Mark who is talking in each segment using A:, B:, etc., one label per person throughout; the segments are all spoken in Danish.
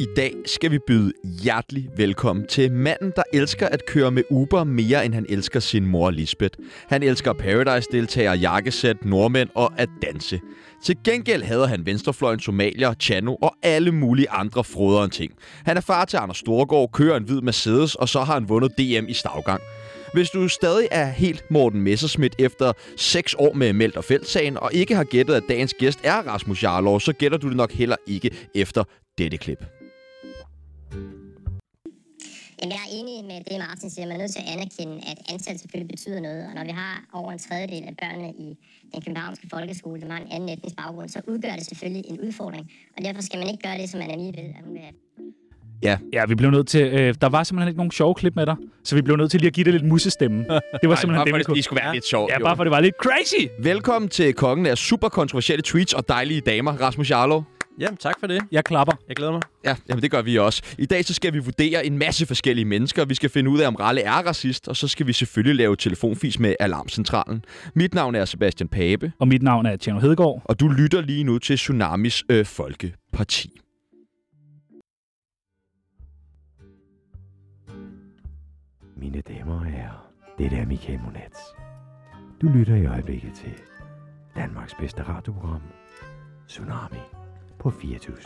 A: I dag skal vi byde hjertelig velkommen til manden, der elsker at køre med Uber mere, end han elsker sin mor Lisbeth. Han elsker Paradise-deltagere, jakkesæt, nordmænd og at danse. Til gengæld hader han venstrefløjen, somalier, Chano og alle mulige andre froderen ting. Han er far til Anders Storgård, kører en hvid Mercedes, og så har han vundet DM i stavgang. Hvis du stadig er helt Morten Messerschmidt efter 6 år med Meldt og Fældt-sagen, og ikke har gættet, at dagens gæst er Rasmus Jarlov, så gætter du det nok heller ikke efter dette klip.
B: Jamen, jeg er enig med det, Martin siger. Man er nødt til at anerkende, at antal selvfølgelig betyder noget. Og når vi har over en tredjedel af børnene i den københavnske folkeskole, som har en anden etnisk baggrund, så udgør det selvfølgelig en udfordring. Og derfor skal man ikke gøre det, som man alligevel vil, at hun vil have.
C: Ja, vi blev nødt til... Øh, der var simpelthen ikke nogen sjove klip med dig, så vi blev nødt til lige at give dig lidt musestemme. Det var simpelthen det, vi kunne.
A: skulle være lidt sjovt.
C: Ja, bare for det var lidt crazy.
A: Velkommen til kongen af super kontroversielle tweets og dejlige damer, Rasmus Jarlov.
D: Jamen, tak for det.
C: Jeg klapper.
D: Jeg glæder mig.
A: Ja, jamen det gør vi også. I dag så skal vi vurdere en masse forskellige mennesker. Vi skal finde ud af, om Ralle er racist, og så skal vi selvfølgelig lave telefonfis med Alarmcentralen. Mit navn er Sebastian Pape,
C: Og mit navn er Tjerno Hedegaard.
A: og du lytter lige nu til Tsunamis øh, Folkeparti.
E: Mine damer og herrer, det er Michael Monats. Du lytter i øjeblikket til Danmarks bedste radioprogram, Tsunami på 24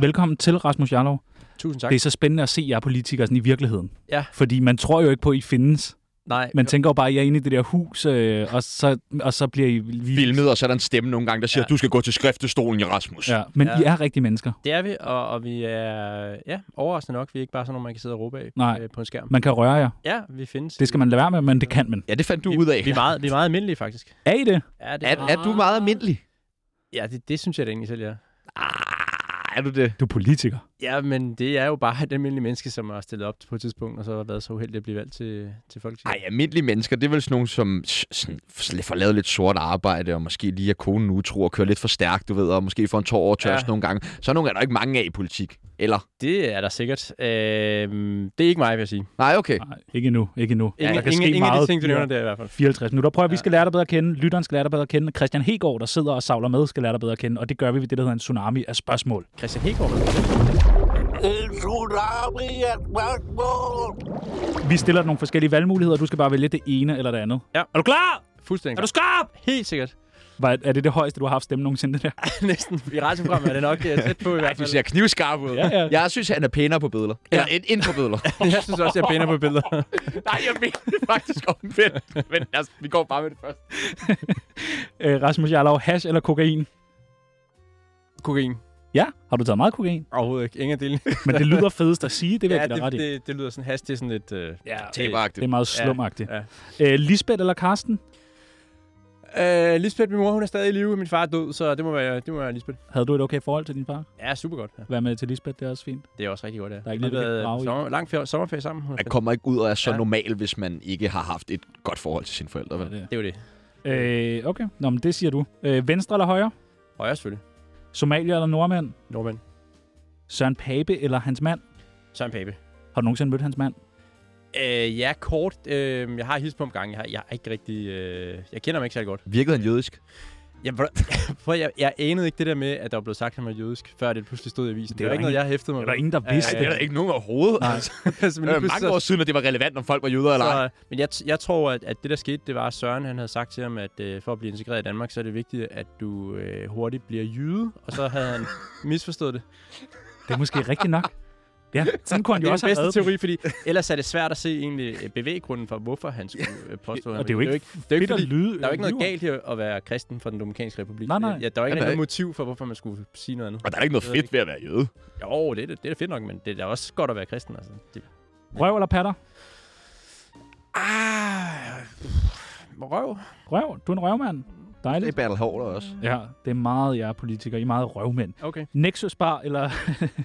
C: Velkommen til, Rasmus Jarlov.
D: Tusind tak.
C: Det er så spændende at se jer politikere sådan i virkeligheden.
D: Ja.
C: Fordi man tror jo ikke på, at I findes.
D: Nej,
C: Man tænker jo bare, at I er inde i det der hus, øh, og, så, og så bliver I vist.
A: Filmet, og så er der en stemme nogle gange, der siger, ja.
D: Ja.
A: du skal gå til skriftestolen, Rasmus.
C: Ja, men
D: Ja.
C: I er rigtige mennesker.
D: det er vi, og, og vi er ja, overraskende nok. Vi er ikke bare sådan, nogle, man kan sidde og råbe af
C: Nej.
D: Øh, på en skærm.
C: Man kan røre jer.
D: Ja, vi findes.
C: Det skal man lade være med, men det kan man.
A: ja det fandt du
D: vi,
A: ud af.
D: Vi er, meget, vi er meget almindelige, faktisk.
C: Er I det?
D: Ja, det,
A: Er, er du meget almindelig?
D: ja det, det synes jeg da egentlig selv, ja.
A: Ah, er du det?
C: Du er politiker.
D: Ja, men det er jo bare et almindeligt menneske, som er stillet op på et tidspunkt, og så har været så uheldig at blive valgt til, til Folketinget.
A: Ej, almindelige mennesker, det er vel sådan nogle, som s- sådan, f- får lavet lidt sort arbejde, og måske lige er konen utro og kører lidt for stærkt, du ved, og måske får en tår over tørst ja.
D: Ja.
A: nogle gange. Så nogle er der ikke mange af i politik. Eller?
D: Det er der sikkert. Øhm, det er ikke mig, vil jeg sige.
A: Nej, okay.
C: Nej, ikke endnu. Ikke endnu.
D: Ingen,
C: der kan
D: ingen,
C: ske
D: ingen af de
C: meget
D: ting, du
C: mere.
D: nævner der i hvert fald.
C: 54 minutter. Prøv at vi
D: Ja.
C: skal lære dig bedre at kende. Lytteren skal lære dig bedre at kende. Christian Hegård, der sidder og savler med, skal lære dig bedre at kende. Og det gør vi ved det, der hedder en tsunami af spørgsmål.
D: Christian Hegård.
C: Vi stiller dig nogle forskellige valgmuligheder, og du skal bare vælge det ene eller det andet.
D: Ja.
C: Er du klar?
D: Fuldstændig.
C: Er du skarp?
D: Helt sikkert.
C: Var, er det det højeste, du har haft stemme nogensinde det der?
D: Næsten. I radioprogrammet er det nok øh, tæt på i hvert
A: Du
D: fald.
A: ser knivskarp ud.
C: Ja, ja.
A: Jeg synes, han er pænere på billeder. Eller ind, ind på billeder.
D: Jeg synes også, jeg pæner på billeder.
A: Nej, jeg mener det faktisk omvendt. Men altså, vi går bare med det første.
C: Øh, Rasmus Jarlov, hash eller kokain?
D: Kokain.
C: Ja, har du taget meget kokain?
D: Overhovedet ikke. Ingen af delene.
C: Men det lyder fedest at sige, det vil jeg ja,
D: det,
C: ret i. Det,
D: det, det, lyder sådan hast. Det er sådan lidt... Øh,
C: ja,
A: Taberagtigt.
C: det er meget slumagtigt.
D: Ja,
C: Ja. Øh, Lisbeth eller Karsten?
D: Øh, Lisbeth, min mor, hun er stadig i live, og min far er død, så det må være, det må være Lisbeth.
C: Havde du et okay forhold til din far?
D: Ja, super godt. Ja.
C: Vær med til Lisbeth, det er også fint.
D: Det er også rigtig godt, ja.
C: Der er ikke
D: Vi har
C: noget, du kan
D: været
C: grave i.
D: sommer, lang ferie, sommerferie sammen. Hun er
A: Man
D: fedt.
A: kommer ikke ud og er så ja.
D: Ja.
A: normal, hvis man ikke har haft et godt forhold til sine forældre. Vel?
D: Det er jo det.
C: Øh, okay, Nå, men det siger du. Øh, venstre eller højre?
D: Og jeg selvfølgelig.
C: Somalier eller nordmænd?
D: Nordmænd.
C: Søren Pape eller hans mand?
D: Søren Pape.
C: Har du nogensinde mødt hans mand?
D: Øh, ja, kort. Øh, jeg har hilst på ham gange. Jeg, har, jeg har ikke rigtig... Øh, jeg kender ham ikke særlig godt.
A: Virkede han jødisk?
D: Jeg, for jeg, jeg anede ikke det der med, at der var blevet sagt, at han var jødisk, før det pludselig stod i avisen.
C: Det er
D: Det, var
C: der
D: ikke noget, jeg hæftede mig
C: der ingen, der
D: Ja,
C: vidste.
D: ja,
C: det
D: ja.
C: er der
A: ikke nogen overhovedet.
C: Nej.
D: altså, men lige pludselig så-
A: Øh, siden, at det var relevant, om folk var jøder
D: Så, men jeg, t- jeg tror, at, at det der skete, det var, at Søren han havde sagt til ham, at øh, for at blive integreret i Danmark, så er det vigtigt, at du øh, hurtigt bliver jyde. Og så havde han misforstået det.
C: Det er måske rigtigt nok. Ja, sådan kunne han
D: Det
C: jo
D: er
C: også
D: den
C: have
D: bedste
C: reddet den.
D: teori, fordi ellers er det svært at se egentlig øh, bevæggrunden for, hvorfor han skulle øh, påstå, at han
C: Og det er jo
D: var jøde.
C: ikke
D: det er jo
C: fedt
D: ikke
C: at
D: fordi,
C: lyde.
D: der er jo ikke noget
C: lyver.
D: galt i at være kristen for den Dominikanske Republik.
C: Nej, nej.
D: Ja, der er jo ikke
A: Jamen,
D: noget motiv for, hvorfor man skulle sige noget andet.
A: Og der er ikke noget fedt ved at være jøde.
D: Jo, det er, det, det er da fedt nok, men det er da også godt at være kristen. Altså. Det,
C: Røv eller patter?
D: ah, røv.
C: Røv. Du er en røvmand.
A: Det er
C: Dejligt.
A: Battle Hall også.
C: Ja, det er meget jer politikere. I er meget røvmænd.
D: Okay.
C: Nexus Bar eller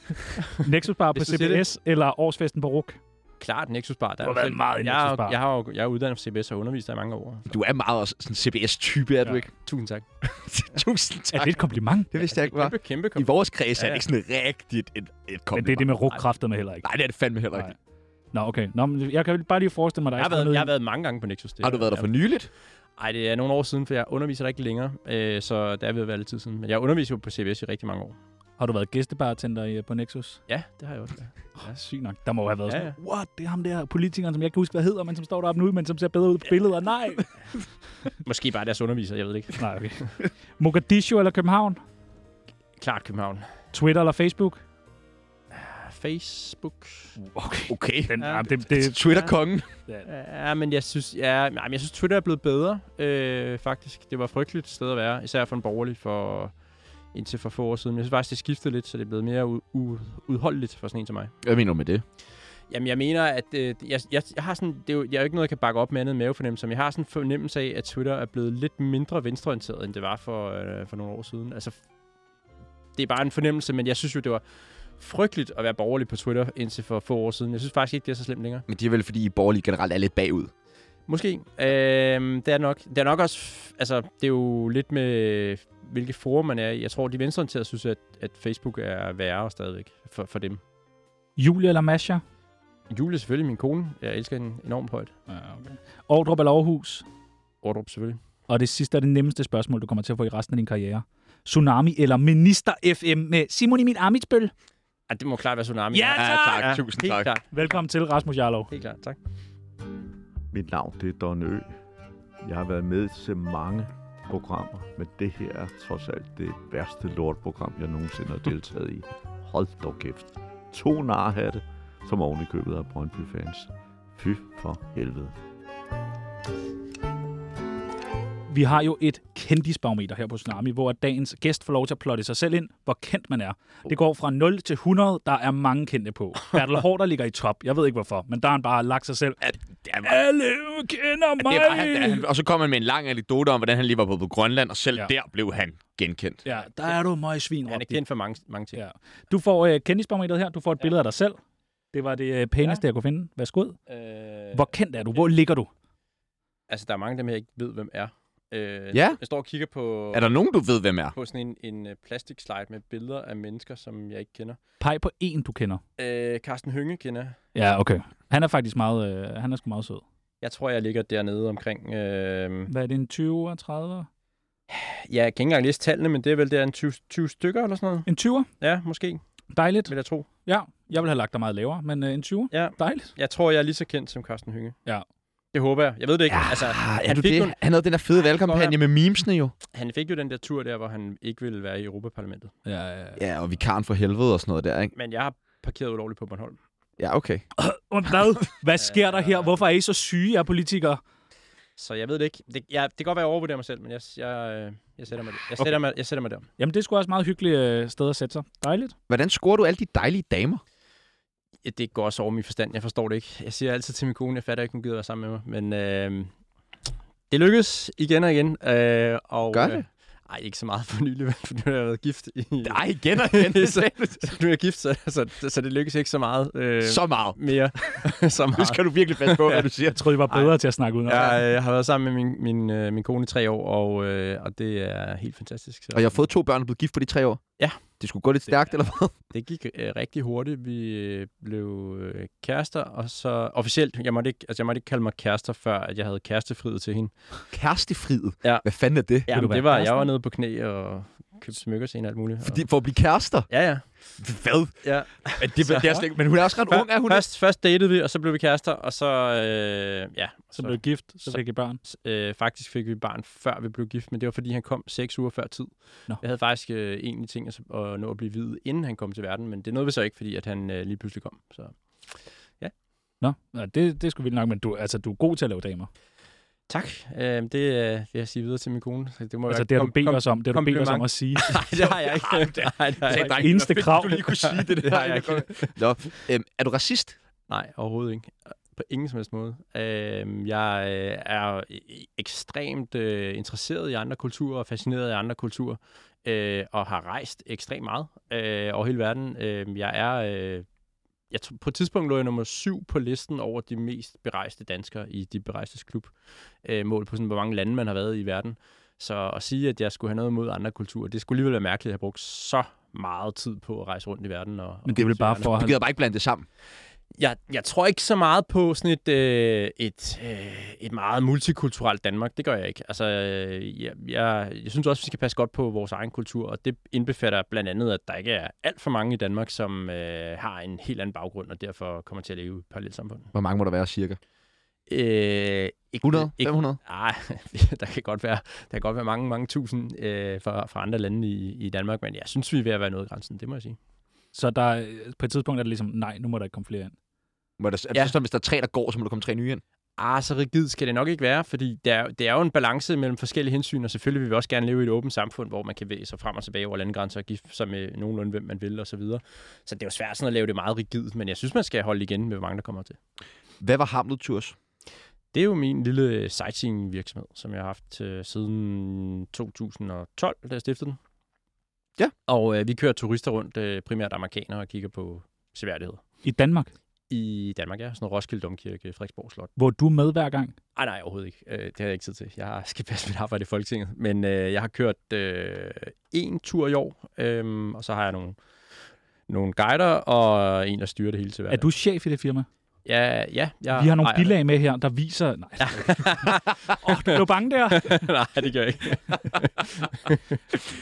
C: Nexus Bar på
D: Hvis du siger det.
C: CBS eller årsfesten på RUK.
D: klart Nexus Bar.
C: Du
D: Der
C: har
D: er
C: været
D: selv-
C: meget i
D: jeg,
C: Nexus Bar.
D: Jeg, har, jo- jeg er uddannet på CBS og undervist der i mange år.
A: Du er meget også sådan en CBS-type, er ja. du
C: Ja.
A: ikke?
D: Tusind tak.
A: Tusind
C: Er
A: tak.
C: det et kompliment?
A: Det vidste jeg ikke, var.
D: Kæmpe, kæmpe
A: Altså, I
D: kom.
A: vores kreds er
D: Ja,
A: det
D: ja.
A: ikke sådan rigtigt et, et
C: Men
A: kompliment.
C: det er det med RUK kræfter med heller ikke.
A: Nej, det er det fandme heller ikke.
C: Nå, okay. Nå, men jeg kan bare lige forestille mig, at der
D: Jeg
C: er
D: har,
C: sådan
D: været, jeg har
C: noget...
D: været mange gange på Nexus. Det
A: Har du været der for nyligt?
D: Ej, det er nogle år siden, for jeg underviser der ikke længere, øh, så det er ved at være lidt tid siden. Men jeg underviser jo på CBS i rigtig mange år.
C: Har du været gæstebartender i, øh, på Nexus?
D: Ja, det har jeg også.
C: Ja, sygt nok. Der må jo have været
D: Ja,
C: ja, sådan, what, det er ham der politikeren, som jeg ikke kan huske, hvad hedder, men som står deroppe nu, men som ser bedre ud på billeder. Nej!
D: Måske bare deres underviser, jeg ved det ikke.
C: Nej, okay. Mogadishu eller København?
D: Klart København.
C: Twitter eller Facebook?
D: Facebook.
C: Okay.
A: Okay.
C: Den,
D: Ja,
C: ja, det, det,
A: Twitter-kongen.
D: Ja, men jeg synes, ja, nej, men jeg synes Twitter er blevet bedre, øh, faktisk. Det var et frygteligt sted at være, især for en borgerlig for indtil for få år siden. Men jeg synes faktisk, det skiftede lidt, så det er blevet mere u- u- udholdeligt for sådan en som mig.
A: Hvad mener du med det?
D: Jamen, jeg mener, at øh, jeg, jeg, jeg har sådan, det er jo, jeg er jo ikke noget, jeg kan bakke op med andet end mavefornemmelse, men jeg har sådan en fornemmelse af, at Twitter er blevet lidt mindre venstreorienteret, end det var for, øh, for nogle år siden. Altså, det er bare en fornemmelse, men jeg synes jo, det var frygteligt at være borgerlig på Twitter indtil for få år siden. Jeg synes faktisk ikke, det er så slemt længere.
A: Men det er vel, fordi I borgerlige generelt er lidt bagud.
D: Måske. Øhm, det er nok. Det er nok også... f- Altså, det er jo lidt med, øh, hvilke forum man er i. Jeg tror, de venstreorienterede synes, at, at Facebook er værre stadigvæk for, for dem.
C: Julie eller Masha?
D: Julie er selvfølgelig min kone. Jeg elsker hende enormt højt.
C: Ja, okay. Ordrup eller Aarhus?
D: Ordrup selvfølgelig.
C: Og det sidste er det nemmeste spørgsmål, du kommer til at få i resten af din karriere. Tsunami eller Minister FM med Simon Emil Amitsbøl?
D: Ah, det må klart være Tsunami.
C: Ja, tak!
A: tak. Tusind
D: helt
A: tak.
D: Klart.
C: Velkommen til, Rasmus Jarlov.
D: Helt klart, tak.
F: Mit navn det er Don Ø. Jeg har været med til mange programmer, men det her er trods alt det værste lortprogram, jeg nogensinde har deltaget i. Hold dog kæft. To narhatte, som oven i købet af Brøndby-fans. Fy for helvede.
C: Vi har jo et kendisbarometer her på Tsunami, hvor dagens gæst får lov til at plotte sig selv ind, hvor kendt man er. Det går fra 0 til 100, der er mange kendte på. Bertel Hårder ligger i top, jeg ved ikke hvorfor, men der har han bare lagt sig selv.
A: At, det er
C: Alle kender mig!
A: det var han, der, han, og så kom han med en lang anekdote om, hvordan han lige var på, på Grønland, og selv
C: Ja.
A: ja. der blev han genkendt.
C: Ja, der er du møgsvin,
D: Han er
C: råbte de.
D: kendt for mange, mange ting.
C: Ja. Du får øh, kendisbarometeret her, du får et billede af dig selv. Det var det øh, pæneste, ja. jeg kunne finde. Værsgo.
D: Øh,
C: Hvor kendt er du? Hvor ligger du?
D: Altså, der er mange af dem, jeg ikke ved, hvem er. Øh,
A: Ja.
D: Jeg står og kigger på,
A: Er der nogen, du ved, hvem er?
D: på sådan en, en øh, plastikslide med billeder af mennesker, som jeg ikke kender.
C: Peg på en, du kender.
D: Øh, Carsten Hønge kender jeg.
C: Ja, okay. Han er faktisk meget, øh, han er sgu meget sød.
D: Jeg tror, jeg ligger dernede omkring... Øh,
C: Hvad er det, en 20'er, 30'er?
D: ja, jeg kan ikke engang læse tallene, men det er vel der en 20, 20 stykker eller sådan noget.
C: En 20'er?
D: Ja, måske,
C: Dejligt.
D: vil jeg tro.
C: Ja, jeg ville have lagt dig meget lavere, men øh, en 20'er?
D: Ja.
C: Dejligt.
D: Jeg tror, jeg er lige så kendt som Carsten Hynge.
C: Ja.
D: Det håber jeg. Jeg ved det ikke. Ja, altså,
A: Ah, er
D: han
A: du
D: fik
A: det?
D: nogle-
A: Han havde den der fede valgkampagne med memesene jo.
D: han fik jo den der tur der, hvor han ikke ville være i Europaparlamentet.
C: Ja, ja, ja.
A: Ja, og vikaren for helvede og sådan noget der, ikke?
D: Men jeg har parkeret ulovligt på Bornholm.
A: Ja, okay.
C: Og Hvad? Hvad sker der her? Hvorfor er I så syge, jer politikere?
D: Så jeg ved det ikke. Det, jeg, det kan godt være, at jeg overvurderer mig selv, men jeg, jeg, øh, jeg, sætter, mig, jeg, sætter, mig, jeg sætter mig der.
C: Jamen, det er sgu også et meget hyggeligt øh, sted at sætte sig. Dejligt.
A: Hvordan scorer du alle de dejlige damer?
D: Ja, det går også over min forstand. Jeg forstår det ikke. Jeg siger altid til min kone, jeg fatter ikke, hun gider være sammen med mig. Men øh, det lykkedes igen og igen. Øh, og,
A: Gør det?
D: Øh, ej, ikke så meget for nylig, for nu har jeg været gift i...
A: Nej, igen og igen. det
D: Så-
A: sagde du
D: Så nu er jeg gift, så, så, så det lykkes ikke så meget øh,
A: så meget.
D: mere. så
A: Nu
D: meget.
A: skal du virkelig passe på, hvad du siger.
C: Jeg troede, I var bedre Ej. til at snakke udenom.
D: Jeg, øh, jeg har været sammen med min, min, øh, min kone i tre år, og, øh, og det er helt fantastisk. Så
A: Og jeg har fået to børn og blevet gift på de tre år.
D: Ja.
A: Det skulle gå lidt stærkt, eller hvad?
D: Det gik øh, rigtig hurtigt. Vi øh, blev øh, kærester, og så officielt, jeg måtte, ikke, altså, jeg måtte ikke kalde mig kærester, før at jeg havde kærestefrihed til hende.
A: Kærestefriet.
D: Ja.
A: Hvad fanden er det?
D: Ja,
C: du
D: men
C: være
D: det var, jeg
C: kæresten?
D: var nede på knæ og købte smykker til hende og alt muligt.
A: Fordi,
D: Og,
A: for at blive kærester?
D: ja, ja.
A: Hvad?
D: ja.
A: Men, det, det er slet, ikke- men hun er også ret ung, er hun? ikke?
D: først, først datede vi, og så blev vi kærester, og så, øh, ja,
C: Så blev I gift, så fik I børn.
D: Øh, faktisk fik vi barn, før vi blev gift, men det var, fordi han kom seks uger før tid.
C: Nå.
D: Jeg havde faktisk øh, egentlig ting at, at nå at blive videt, inden han kom til verden, men det nåede vi så ikke, fordi at han øh, lige pludselig kom. Så.
C: Nå, ja, det, det skulle vildt nok, men du, altså, du er god til at lave damer.
D: Tak. Øh, det øh, vil jeg sige videre til min kone. Så det må
C: Altså,
D: være,
C: det har du
D: kom-
C: bedt
D: kom-
C: os om. Det har du bedt os om
D: kompliment.
C: at sige.
D: Nej, det har jeg ikke. Nej, det har jeg
C: Det
D: ikke.
C: er det eneste krav.
A: Du lige kunne sige det der.
D: Det har jeg ikke.
A: Nå, øhm, er du racist?
D: Nej, overhovedet ikke. På ingen som helst måde. Øh, jeg øh, er e- ekstremt øh, interesseret i andre kulturer og fascineret af andre kulturer, øh, og har rejst ekstremt meget øh, over hele verden. Øh, jeg er... Øh, jeg tror, på et tidspunkt lå jeg nummer syv på listen over de mest berejste danskere i de berejstes klub. Øh, mål på sådan, hvor mange lande man har været i verden. Så at sige, at jeg skulle have noget mod andre kulturer, det skulle alligevel være mærkeligt at have brugt så meget tid på at rejse rundt i verden. Og,
C: Men det er vel
D: og-
C: bare for
A: Du
C: at han...
A: gider bare ikke blande det sammen.
D: jeg, jeg tror ikke så meget på sådan et, øh, et, øh, et meget multikulturelt Danmark. Det gør jeg ikke. Altså, øh, jeg, jeg, jeg synes også, vi skal passe godt på vores egen kultur, og det indbefatter blandt andet, at der ikke er alt for mange i Danmark, som øh, har en helt anden baggrund, og derfor kommer til at leve i parallelt samfund.
A: Hvor mange må der være cirka?
D: Øh, ikke,
A: 100?
D: Ikke,
A: 500?
D: Nej, der kan godt være, der kan godt være mange, mange tusind øh, fra, fra andre lande i, i Danmark, men jeg synes, vi er ved at være nået grænsen, det må jeg sige.
C: Så der, er- på et tidspunkt er det ligesom, nej, nu må der ikke komme flere ind.
A: Må der, er det
D: Ja.
A: ja. sådan, hvis der er tre, der går, så må der komme tre nye ind?
D: Ah, så rigid skal det nok ikke være, fordi det er, det er jo en balance mellem forskellige hensyn, og selvfølgelig vil vi også gerne leve i et åbent samfund, hvor man kan væge sig frem og tilbage over landegrænser og gifte sig med nogenlunde, hvem man vil og Så, videre. så det er jo svært sådan at lave det meget rigidt, men jeg synes, man skal holde igen med, hvor mange der kommer til.
A: Hvad var Hamlet Tours?
D: Det er jo min lille øh, sightseeing-virksomhed, som jeg har haft øh, siden 2012, da jeg stiftede den.
A: Ja.
D: Og øh, vi kører turister rundt, øh, primært amerikanere, og kigger på seværdigheder.
C: I Danmark,
D: I Danmark, ja. Sådan noget Roskilde Domkirke, Frederiksborg Slot.
C: hvor du er med hver gang.
D: Nej, nej, overhovedet ikke. Øh, det har jeg ikke tid til. Jeg har- skal passe mit arbejde i Folketinget. Men øh, jeg har kørt øh, en tur i år, øh, og så har jeg nogle, nogle guider og en, der styrer det hele til
C: Er
D: hverdag.
C: du chef i det firma?
D: Ja, ja. Jeg
C: Vi har nogle
D: ejer det.
C: bilag med her, der viser... Nej, det er ikke. Åh, du blev bange der.
D: nej, det gør jeg ikke.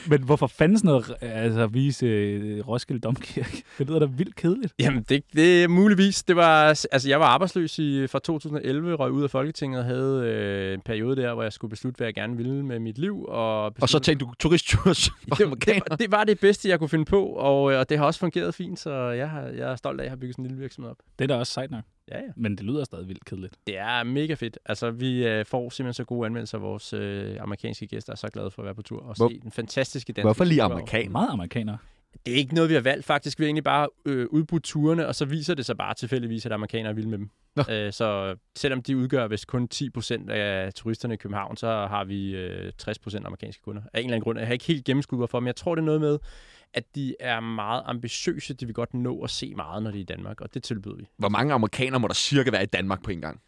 C: Men hvorfor fanden sådan noget, altså at vise øh, Roskilde Domkirke? Det lyder da vildt kedeligt.
D: Jamen, det, det er muligvis. Det var, altså, jeg var arbejdsløs i, fra 2011, røg ud af Folketinget og havde øh, en periode der, hvor jeg skulle beslutte, hvad jeg gerne ville med mit liv. Og,
A: Og så
D: beslutte-
A: tænkte du turisttours for
D: det, det,
A: amerikanere?
D: var- det var det bedste, jeg kunne finde på, og, øh, og det har også fungeret fint, så jeg, har, jeg er stolt af, at jeg har bygget sådan en lille virksomhed op.
C: Det er da også sejt nok,
D: Ja, ja.
C: men det lyder stadig vildt kedeligt.
D: Det er mega fedt. Altså, vi øh, får simpelthen så gode anmeldelser af vores øh, amerikanske gæster, er så glade for at være på tur og
A: Hvor-
D: se den fantastiske danske
A: Hvorfor lige
D: kultur.
A: amerikanere?
C: Meget amerikanere.
D: Det er ikke noget, vi har valgt faktisk. Vi har egentlig bare øh, udbudt turene, og så viser det sig bare tilfældigvis, at amerikanere er vilde med dem.
A: Nå.
D: Øh, så selvom de udgør vist kun 10% af turisterne i København, så har vi øh, 60% amerikanske kunder. Af en eller anden grund. Jeg har ikke helt gennemskuet, hvorfor, men jeg tror, det er noget med, at de er meget ambitiøse. De vil godt nå at se meget, når de er i Danmark, og det tilbyder vi.
A: Hvor mange amerikanere må der cirka være i Danmark på en gang?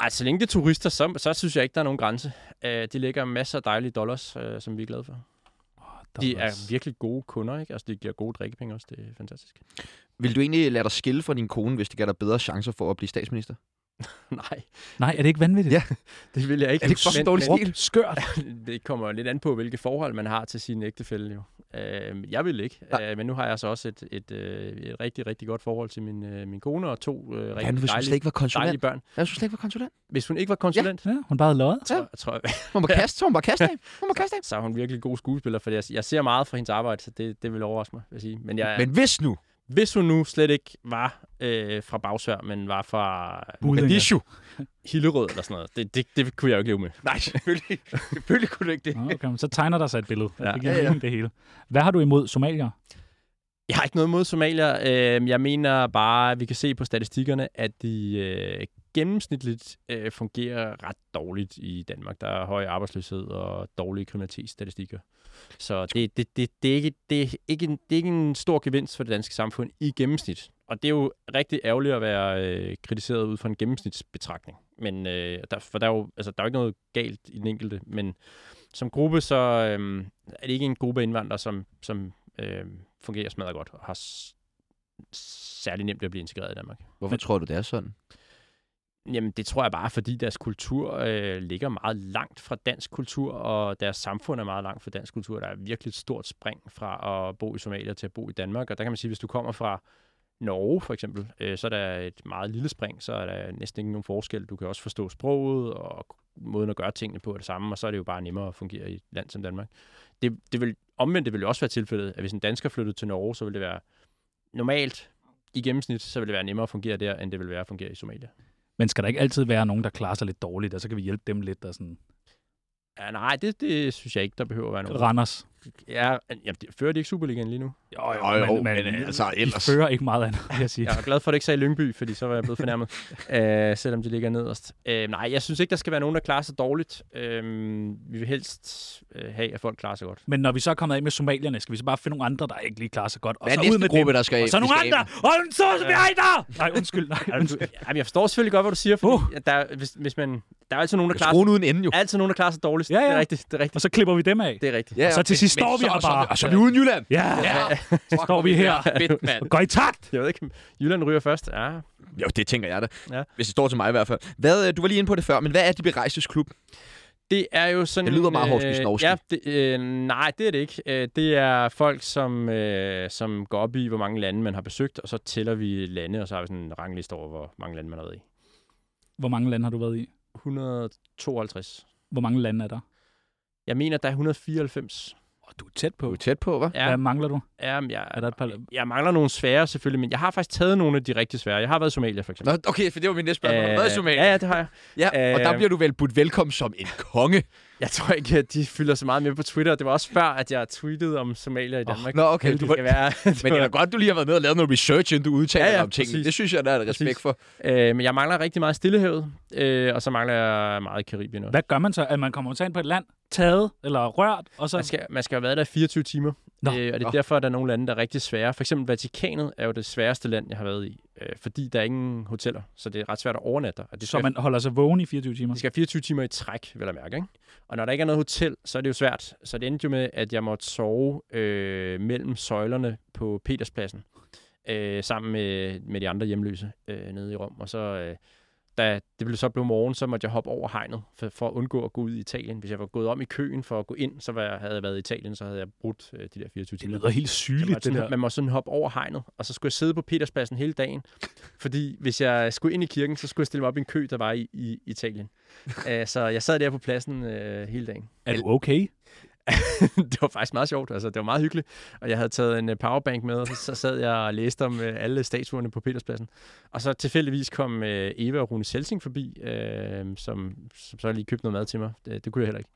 D: Ej, så længe det er turister, så, så synes jeg ikke, der er nogen grænse. Øh, de lægger masser af dejlige dollars, øh, som vi er glade for. De er virkelig gode kunder, ikke? Altså, de giver gode drikkepenge også. Det er fantastisk.
A: Vil du egentlig lade dig skille fra din kone, hvis det gav dig bedre chancer for at blive statsminister?
D: Nej,
C: Nej, er det ikke vanvittigt?
A: Ja.
D: Det vil jeg ikke.
A: Er det ikke for dårlig
D: men,
A: stil?
C: Skørt.
D: men, det kommer jo lidt an på, hvilke forhold man har til sin ægtefælle. Jo. Øh, jeg vil ikke, øh, men nu har jeg så også et, et, øh, et rigtig, rigtig godt forhold til min, øh, min kone og to øh, rigtig
A: Han hvis hun slet
D: dejlige,
A: ikke var konsulent.
D: dejlige børn.
A: Jeg synes slet ikke var konsulent.
D: Hvis hun ikke var konsulent,
C: Ja, hun bare havde løjet.
A: Ja.
D: ja. tror, jeg,
A: Hun må kaste, så hun må kaste af. Hun må kaste af.
D: så er hun virkelig god skuespiller, for jeg, jeg ser meget fra hendes arbejde, så det, det vil overraske mig, vil jeg sige. Men, jeg,
A: Men
D: men
A: hvis nu,
D: hvis hun nu slet ikke var øh, fra Bagsvær, men var fra
C: Buddinge.
D: Mogadishu, Hillerød eller sådan noget, det, det, det kunne jeg jo ikke leve med.
A: Nej, selvfølgelig. selvfølgelig kunne du ikke det.
C: Nå, Okay, men så tegner der sig et billede. Ja.
D: Ja.
C: Det giver
A: Ja, ja.
C: mening, det hele. Hvad har du imod somalier?
D: Jeg har ikke noget imod somalier. Øh, jeg mener bare, at vi kan se på statistikkerne, at de øh, gennemsnitligt øh, fungerer ret dårligt i Danmark. Der er høj arbejdsløshed og dårlige kriminalitetsstatistikker. Så det, det, det, det, er ikke, det, er ikke en, det er ikke en stor gevinst for det danske samfund i gennemsnit. Og det er jo rigtig ærgerligt at være øh, kritiseret ud fra en gennemsnitsbetragtning. Men, øh, der, for der er jo altså, der er jo ikke noget galt i den enkelte, men som gruppe, så øh, er det ikke en gruppe af indvandrere, som, som øh, fungerer smadret godt og har s- særlig nemt ved at blive integreret i Danmark.
A: Hvorfor tror du, det er sådan?
D: Jamen, det tror jeg bare, fordi deres kultur øh, ligger meget langt fra dansk kultur, og deres samfund er meget langt fra dansk kultur. Der er virkelig et stort spring fra at bo i Somalia til at bo i Danmark. Og der kan man sige, hvis du kommer fra Norge for eksempel, øh, så er der et meget lille spring, så er der næsten ikke nogen forskel. Du kan også forstå sproget, og måden at gøre tingene på er det samme, og så er det jo bare nemmere at fungere i et land som Danmark. Det, det vil, omvendt det vil jo også være tilfældet, at hvis en dansker flyttede til Norge, så ville det være normalt i gennemsnit, så vil det være nemmere at fungere der, end det vil være at fungere i Somalia.
C: Men skal der ikke altid være nogen, der klarer sig lidt dårligt, og så kan vi hjælpe dem lidt? Der sådan...
D: Ja, nej, det, det synes jeg ikke, der behøver at være nogen.
C: Randers.
D: Ja, jamen, det, fører de ikke Superligaen lige nu?
C: Jo,
A: Jo, jo, men altså, ellers-
C: De fører ikke meget andet, vil jeg sige.
D: Jeg er glad for, at det ikke sagde Lyngby, fordi så var jeg blevet fornærmet, øh, selvom de ligger nederst. Øh, nej, jeg synes ikke, der skal være nogen, der klarer sig dårligt. Øh, vi vil helst øh, have, at folk klarer sig godt.
C: Men når vi så er kommet af med somalierne, skal vi så bare finde nogle andre, der ikke lige klarer sig godt. Og
A: Hvad er
C: så
A: næste
C: ud med
A: gruppe,
C: dem.
A: der skal
C: Og så
A: vi
C: nogle
A: skal af
C: andre! Og en så som jeg der! Nej, undskyld. Nej,
D: Er du,
C: undskyld.
D: jamen, jeg forstår selvfølgelig godt, hvad du siger, fordi uh. der, hvis, hvis man, der er altid nogen, der klarer,
A: Skruen uden ende jo.
D: altid nogen, der klarer sig dårligst.
C: Ja, ja.
D: Det er rigtigt, det er
C: Og
D: rigtigt.
C: så klipper vi dem af.
D: Det er rigtigt.
A: Ja,
C: Og så til
A: okay.
C: sidst står vi her bare.
A: Og så er vi uden Jylland.
C: Ja, så står vi her.
A: Fedt, mand.
C: og Går i takt!
D: Jeg ved ikke, om Jylland ryger først. Ja,
A: Jo, det tænker jeg da. Ja.
D: Ja.
A: Hvis det står til mig i hvert fald. Hvad, øh, du var lige inde på det før, men hvad er de berejstes klub?
D: Det er jo sådan...
A: Det lyder meget
D: øh,
A: Horsens Norske.
D: Ja, det, øh, nej, det er det ikke. Øh, det er folk, som, øh, som går op i, hvor mange lande man har besøgt, og så tæller vi lande, og så har vi sådan en rangliste over, hvor mange lande man har været i.
C: Hvor mange lande har du været i?
D: 152.
C: Hvor mange lande er der?
D: Jeg mener, der er 194.
C: Oh, du er tæt på.
A: Du er tæt på, hva'?
C: Hvad mangler du?
D: ja men jeg,
C: Er der et par...
D: jeg mangler nogle svære selvfølgelig, men jeg har faktisk taget nogle af de rigtig svære. Jeg har været i Somalia, for eksempel. Øh,
A: Nå, okay, for det var min næste spørgsmål. Hvad er
C: Øh,
A: Somalia?
D: Ja, ja, det har jeg.
A: Ja, og
D: øh,
A: der bliver du vel budt velkommen som en konge.
D: Jeg tror ikke, at de fylder så meget med på Twitter. Det var også før, at jeg tweetede om Somalia i Danmark.
A: Nå, okay. Du
D: det
A: var,
D: skal være,
A: men det er da godt, du lige har været med og lavet noget research, inden du udtaler
D: Ja,
A: ja,
D: ja,
A: ja, om tingene.
D: præcis.
A: Det synes jeg, der er et respekt
D: Præcis.
A: for.
D: Øh, men jeg mangler rigtig meget Stillehavet, øh, og så mangler jeg meget i Karibien også.
C: Hvad gør man så? At man kommer ind på et land, taget eller rørt, og så...
D: Man skal, man skal jo have været der i 24 timer,
C: Nå.
D: øh, og det
A: Nå.
D: er derfor, at der er nogle lande, der er rigtig svære. For eksempel Vatikanet er jo det sværeste land, jeg har været i, øh, fordi der er ingen hoteller, så det er ret svært at overnatte der. Og det
C: Så
D: skal,
C: man holder sig vågen i 24 timer.
D: det skal være 24 timer i træk, vil jeg mærke. Ikke? Og når der ikke er noget hotel, så er det jo svært. Så det endte jo med, at jeg måtte sove øh, mellem søjlerne på Peterspladsen, øh, sammen med, med de andre hjemløse øh, nede i Rom. Og så... Øh, da det blev så blev morgen, så måtte jeg hoppe over hegnet for, for at undgå at gå ud i Italien. Hvis jeg var gået om i køen for at gå ind, så var jeg, havde jeg været i Italien, så havde jeg brudt øh, de der 24
C: Det
D: timer.
C: lyder helt
D: Så man,
C: sygeligt, det
D: sådan,
C: der.
D: man må sådan hoppe over hegnet, og så skulle jeg sidde på Peterspladsen hele dagen. Fordi hvis jeg skulle ind i kirken, så skulle jeg stille mig op i en kø, der var i, i Italien. Æ, så jeg sad der på pladsen øh, hele dagen.
C: Er du okay?
D: det var faktisk meget sjovt, altså det var meget hyggeligt. Og jeg havde taget en øh, powerbank med, og så- så sad jeg og læste om øh, alle statuerne på Peterspladsen. Og så tilfældigvis kom øh, Eva og Rune Selsing forbi, øh, som, som så lige købte noget mad til mig. Det, det kunne jeg heller ikke.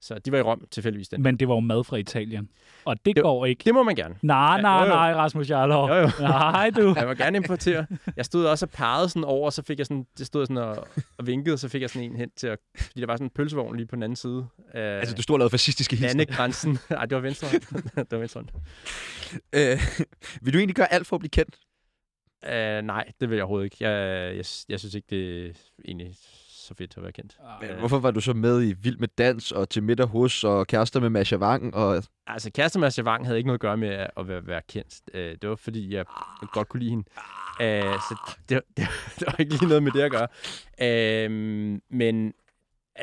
D: Så de var i Rom tilfældigvis den.
C: Men det var jo mad fra Italien. Og det
D: Det-
C: går ikke.
D: Det må man gerne.
C: Nej,
D: Ja,
C: nej,
D: jo, jo.
C: nej, Rasmus Jarlov.
D: Jo, jo.
C: Nej, du.
D: Jeg må gerne importere. Jeg stod også og pegede sådan over, og så fik jeg sådan, det stod jeg sådan og, og vinkede, og så fik jeg sådan en hen til at, fordi der var sådan en pølsevogn lige på den anden side af
A: Altså,
D: altså,
A: du stod og lavede fascistiske hilsner.
D: landegrænsen. Ej, det var venstre. hånd. det var venstre. hånd.
A: Øh, vil du egentlig gøre alt for at blive kendt?
D: Øh, nej, det vil jeg overhovedet ikke. Jeg, jeg, jeg synes ikke, det er egentlig så fedt at være kendt.
A: Men Hvorfor var du så med i Vild med Dans og Til Middag Hos og Kærester med Masha Wang? Og...
D: Altså, kæresten med Javang havde ikke noget at gøre med at- at være, være kendt. Øh, det var, fordi jeg godt kunne lide hende. Øh, så det, det, det var ikke lige noget med det at gøre. Øh, men